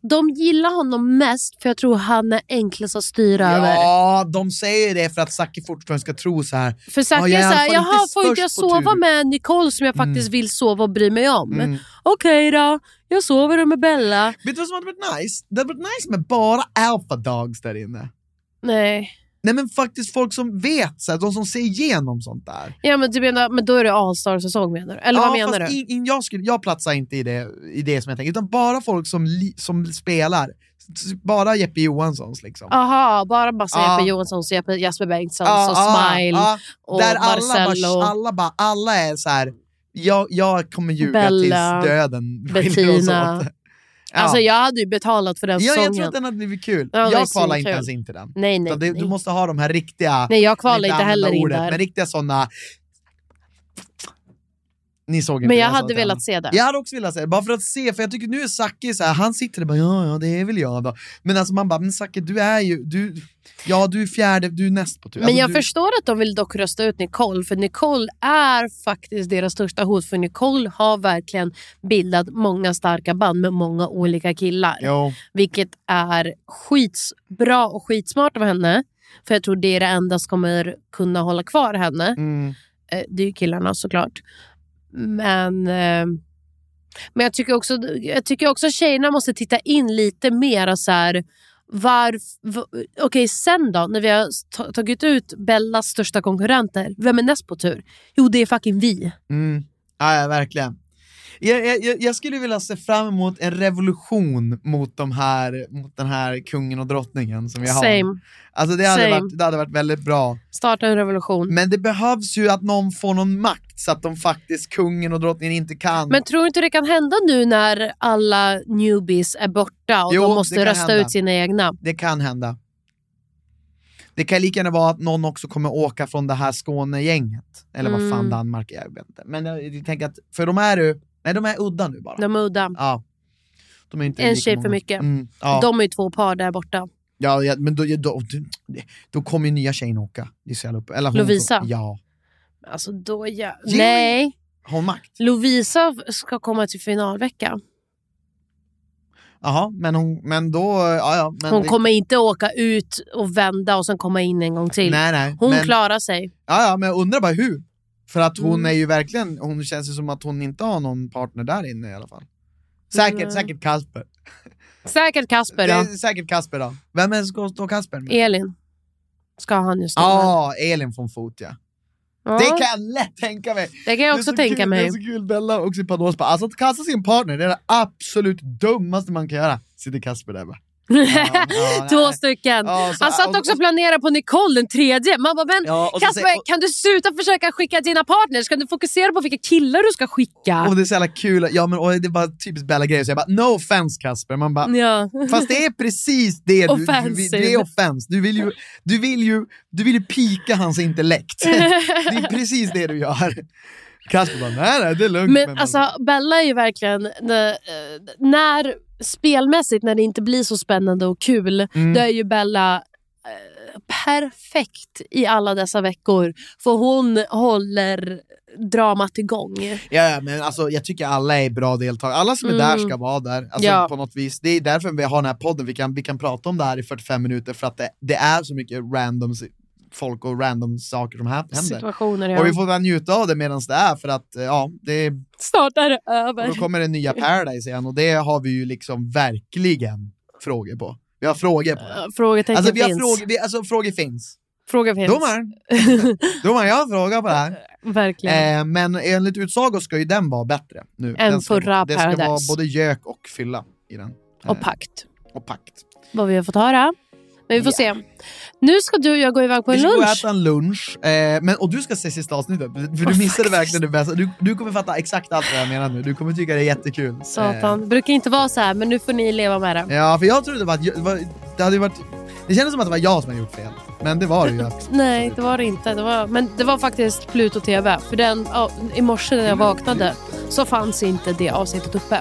Speaker 1: De gillar honom mest för jag tror han är enklast att styra över.
Speaker 2: Ja, de säger det för att Zacke fortfarande ska tro så här.
Speaker 1: För Zacke
Speaker 2: "Ja, jag
Speaker 1: är
Speaker 2: i alla
Speaker 1: såhär,
Speaker 2: fall
Speaker 1: jaha får inte jag
Speaker 2: störst på tur."
Speaker 1: sova med Nicole som jag faktiskt vill sova och bry mig om?
Speaker 2: Mm.
Speaker 1: Okej då, jag sover med Bella.
Speaker 2: Vet du vad som hade varit nice? Det hade varit nice med bara alpha dogs där inne.
Speaker 1: Nej.
Speaker 2: Nej men faktiskt folk som vet, så här, de som ser igenom sånt där.
Speaker 1: Ja, men, du menar, men då är det Allstar-säsong menar du? Eller vad menar du?
Speaker 2: fast In, in, jag, skulle, jag platsar inte i det, i det som jag tänker, utan bara folk som, li, som spelar. S- Bara Jeppe Johanssons liksom.
Speaker 1: Aha, bara massa
Speaker 2: Ja.
Speaker 1: Jeppe Johanssons, Jeppe, Jasper Bengtsson,
Speaker 2: Ja,
Speaker 1: och
Speaker 2: ja,
Speaker 1: Smile
Speaker 2: ja.
Speaker 1: och
Speaker 2: Där
Speaker 1: Marcello.
Speaker 2: alla, bara, alla, bara, alla är så här. Jag, jag kommer ljuga
Speaker 1: Bella,
Speaker 2: tills döden skiljer oss åt.
Speaker 1: Bettina. Alltså jag hade ju betalat för den
Speaker 2: ja, jag
Speaker 1: säsongen.
Speaker 2: tror att den hade blivit kul.
Speaker 1: Ja, det är
Speaker 2: jag kvalar inte
Speaker 1: svinkul.
Speaker 2: ens in till den.
Speaker 1: Nej, nej,
Speaker 2: Utan det,
Speaker 1: nej.
Speaker 2: Du måste ha de här riktiga...
Speaker 1: Nej, jag kvalar
Speaker 2: vill
Speaker 1: inte
Speaker 2: använda
Speaker 1: heller in
Speaker 2: ordet,
Speaker 1: där.
Speaker 2: Men riktiga sådana... Ni såg inte
Speaker 1: Men
Speaker 2: det,
Speaker 1: jag
Speaker 2: sa
Speaker 1: hade
Speaker 2: inte
Speaker 1: velat
Speaker 2: annat.
Speaker 1: se det.
Speaker 2: Jag hade också velat se det, bara för att se, för jag tycker nu är Zacke så här, han sitter där och bara ja, ja, det är väl jag då. Men alltså man bara, men Zacke du är ju, du, ja du är fjärde, du är näst på tur.
Speaker 1: Men
Speaker 2: alltså,
Speaker 1: jag
Speaker 2: du,
Speaker 1: förstår att de vill dock rösta ut Nicole, för Nicole är faktiskt deras största hot. För Nicole har verkligen bildat många starka band med många olika killar.
Speaker 2: Jo.
Speaker 1: Vilket är skitsbra och skitsmart av henne. För jag tror det är det enda som kommer kunna hålla kvar henne.
Speaker 2: Mm.
Speaker 1: Eh, Det är ju killarna såklart. Men, eh, men jag, tycker också, jag tycker också att tjejerna måste titta in lite mer. och Så här, var, va, okej, sen då? När vi har ta- tagit ut Bellas största konkurrenter, vem är näst på tur? Jo, det är fucking vi.
Speaker 2: Mm. Ja, ja, verkligen. Jag, jag- jag, jag skulle vilja se fram emot en revolution mot, de här, mot den här kungen och drottningen som vi har.
Speaker 1: Same.
Speaker 2: Alltså det hade,
Speaker 1: Same.
Speaker 2: varit, det hade varit väldigt bra.
Speaker 1: Starta en revolution.
Speaker 2: Men det behövs ju att någon får någon makt så att de faktiskt, kungen och drottningen inte kan.
Speaker 1: Men tror du inte det kan hända nu när alla newbies är borta och
Speaker 2: Jo,
Speaker 1: de
Speaker 2: det
Speaker 1: måste
Speaker 2: kan
Speaker 1: rösta
Speaker 2: hända.
Speaker 1: ut sina egna?
Speaker 2: Det kan hända. Det kan lika gärna vara att någon också kommer åka från det här Skånegänget. Eller vad fan
Speaker 1: Mm.
Speaker 2: Danmark är, jag vet inte. Men jag, jag tänker att, för de är ju, nej de är udda nu bara.
Speaker 1: De är udda.
Speaker 2: Ja. De är inte
Speaker 1: En
Speaker 2: lika
Speaker 1: tjej för
Speaker 2: många.
Speaker 1: mycket.
Speaker 2: Mm, ja.
Speaker 1: De är ju två par där borta.
Speaker 2: Ja, ja, men då, då, då, då kommer ju nya tjejen åka. gissar jag upp. Eller hon,
Speaker 1: Lovisa?
Speaker 2: Ja.
Speaker 1: Alltså då... Ja.
Speaker 2: Ge mig-
Speaker 1: Nej.
Speaker 2: Har hon makt?
Speaker 1: Lovisa ska komma till finalvecka.
Speaker 2: Jaha, men, hon, men då... Ja, ja, men
Speaker 1: Hon
Speaker 2: det-
Speaker 1: kommer inte åka ut och vända och sen komma in en gång till.
Speaker 2: Nej, nej.
Speaker 1: Hon
Speaker 2: men,
Speaker 1: klarar sig.
Speaker 2: Ja, ja, men jag undrar bara hur. För att hon
Speaker 1: Mm.
Speaker 2: är ju verkligen, hon känns ju som att hon inte har någon partner där inne i alla fall. Säkert,
Speaker 1: Nej.
Speaker 2: säkert Kasper.
Speaker 1: Säkert Kasper
Speaker 2: Det
Speaker 1: då.
Speaker 2: är säkert Kasper då. Vem är det som ska stå Kasper med?
Speaker 1: Elin ska han ju stå med.
Speaker 2: Ja, Elin från Fot ja.
Speaker 1: Ja,
Speaker 2: Det kan jag lätt tänka mig.
Speaker 1: det kan jag också tänka
Speaker 2: kul, Det
Speaker 1: mig.
Speaker 2: är så kul, Bella och sin Pandoras bara, alltså att kasta sin partner, det är det absolut dummaste man kan göra. Sitter Kasper där bara. Ja, ja,
Speaker 1: Två
Speaker 2: nej.
Speaker 1: stycken.
Speaker 2: Ja, så-
Speaker 1: han satt
Speaker 2: och-
Speaker 1: också
Speaker 2: och-
Speaker 1: och planerade på Nicole, den tredje. Man bara, men
Speaker 2: Ja, och så
Speaker 1: Kasper,
Speaker 2: säger- och-
Speaker 1: kan du sluta försöka skicka dina partners? Kan du fokusera på vilka killar du ska skicka?
Speaker 2: Och det är så jävla kul, ja, men, och det är bara typiskt Bella-grejer, så jag bara no offense Kasper, man bara
Speaker 1: ja.
Speaker 2: Fast det är precis det du, du, vill-
Speaker 1: Offensive.
Speaker 2: det är offense. Du vill ju, du vill ju, du vill ju pika hans intellekt. det är precis det du gör. Kasper bara, nej, nej det är lugnt.
Speaker 1: Men alltså, Bella är ju verkligen... När, eh, när spelmässigt, när det inte blir så spännande och kul,
Speaker 9: Mm.
Speaker 1: då är ju Bella eh, perfekt i alla dessa veckor. För hon håller dramat igång.
Speaker 2: Ja, ja, men alltså, jag tycker alla är bra deltagare. Alla som är
Speaker 1: Mm.
Speaker 2: där ska vara där alltså,
Speaker 1: Ja.
Speaker 2: på något vis. Det är därför vi har den här podden. Vi kan, vi kan prata om det här i 45 minuter för att det, det är så mycket random s- folk och random saker som här händer.
Speaker 1: Situationer, ja.
Speaker 2: Och vi får väl njuta av det medan det är för att eh, ja, det är,
Speaker 1: Snart är det över.
Speaker 2: då kommer det nya Paradise igen och det har vi ju liksom verkligen frågor på. Vi har frågor på det.
Speaker 1: Frågetecken
Speaker 2: Alltså, vi har
Speaker 1: finns.
Speaker 2: frågor, vi, alltså, frågor finns.
Speaker 1: Fråga finns.
Speaker 2: Domaren, domaren, jag har en fråga på det här.
Speaker 1: Verkligen.
Speaker 2: Eh, men enligt utsago ska ju den vara bättre nu.
Speaker 1: Än
Speaker 2: den ska,
Speaker 1: förra
Speaker 2: Det ska vara
Speaker 1: Paradise.
Speaker 2: både gök och fylla i den.
Speaker 1: Och pakt.
Speaker 2: Och pakt.
Speaker 1: Vad vi har fått höra. Men vi får se. Nu ska du och jag gå iväg på
Speaker 2: Vi
Speaker 1: en
Speaker 2: ska gå och
Speaker 1: lunch.
Speaker 2: äta en lunch, eh, men, och du ska se sista avsnittet, för du missade verkligen det bästa. Du, du kommer fatta exakt allt vad jag menar nu. Du kommer tycka det är jättekul.
Speaker 1: Satan. Det brukar inte vara så här, men nu får ni leva med det.
Speaker 2: Eh, ja, för jag trodde det var att jag- det var, det hade ju varit... Det kändes som att det var jag som hade gjort fel, men det var det ju.
Speaker 1: Nej, det var det inte. Det var, men det var faktiskt Pluto TV. För den, ja, i morse när jag
Speaker 2: Mm.
Speaker 1: vaknade så fanns inte det avsnittet uppe.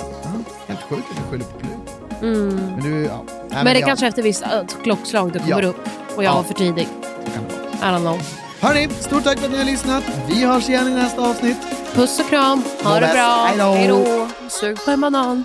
Speaker 2: Helt sjukt att du skyller på Pluto.
Speaker 1: Mm.
Speaker 2: Men, du, ja. Nej,
Speaker 1: Men det
Speaker 2: ja.
Speaker 1: kanske efter vissa äh, klockslag det kommer
Speaker 2: Ja.
Speaker 1: upp och jag
Speaker 2: Ja.
Speaker 1: var för tidig. I don't know.
Speaker 2: Hörni, stort tack för att ni har lyssnat. Vi hörs igen i nästa avsnitt.
Speaker 1: Puss och kram. Ha
Speaker 2: Må
Speaker 1: det
Speaker 2: bäst.
Speaker 1: bra.
Speaker 2: Hej då.
Speaker 1: då. Sug på en banan.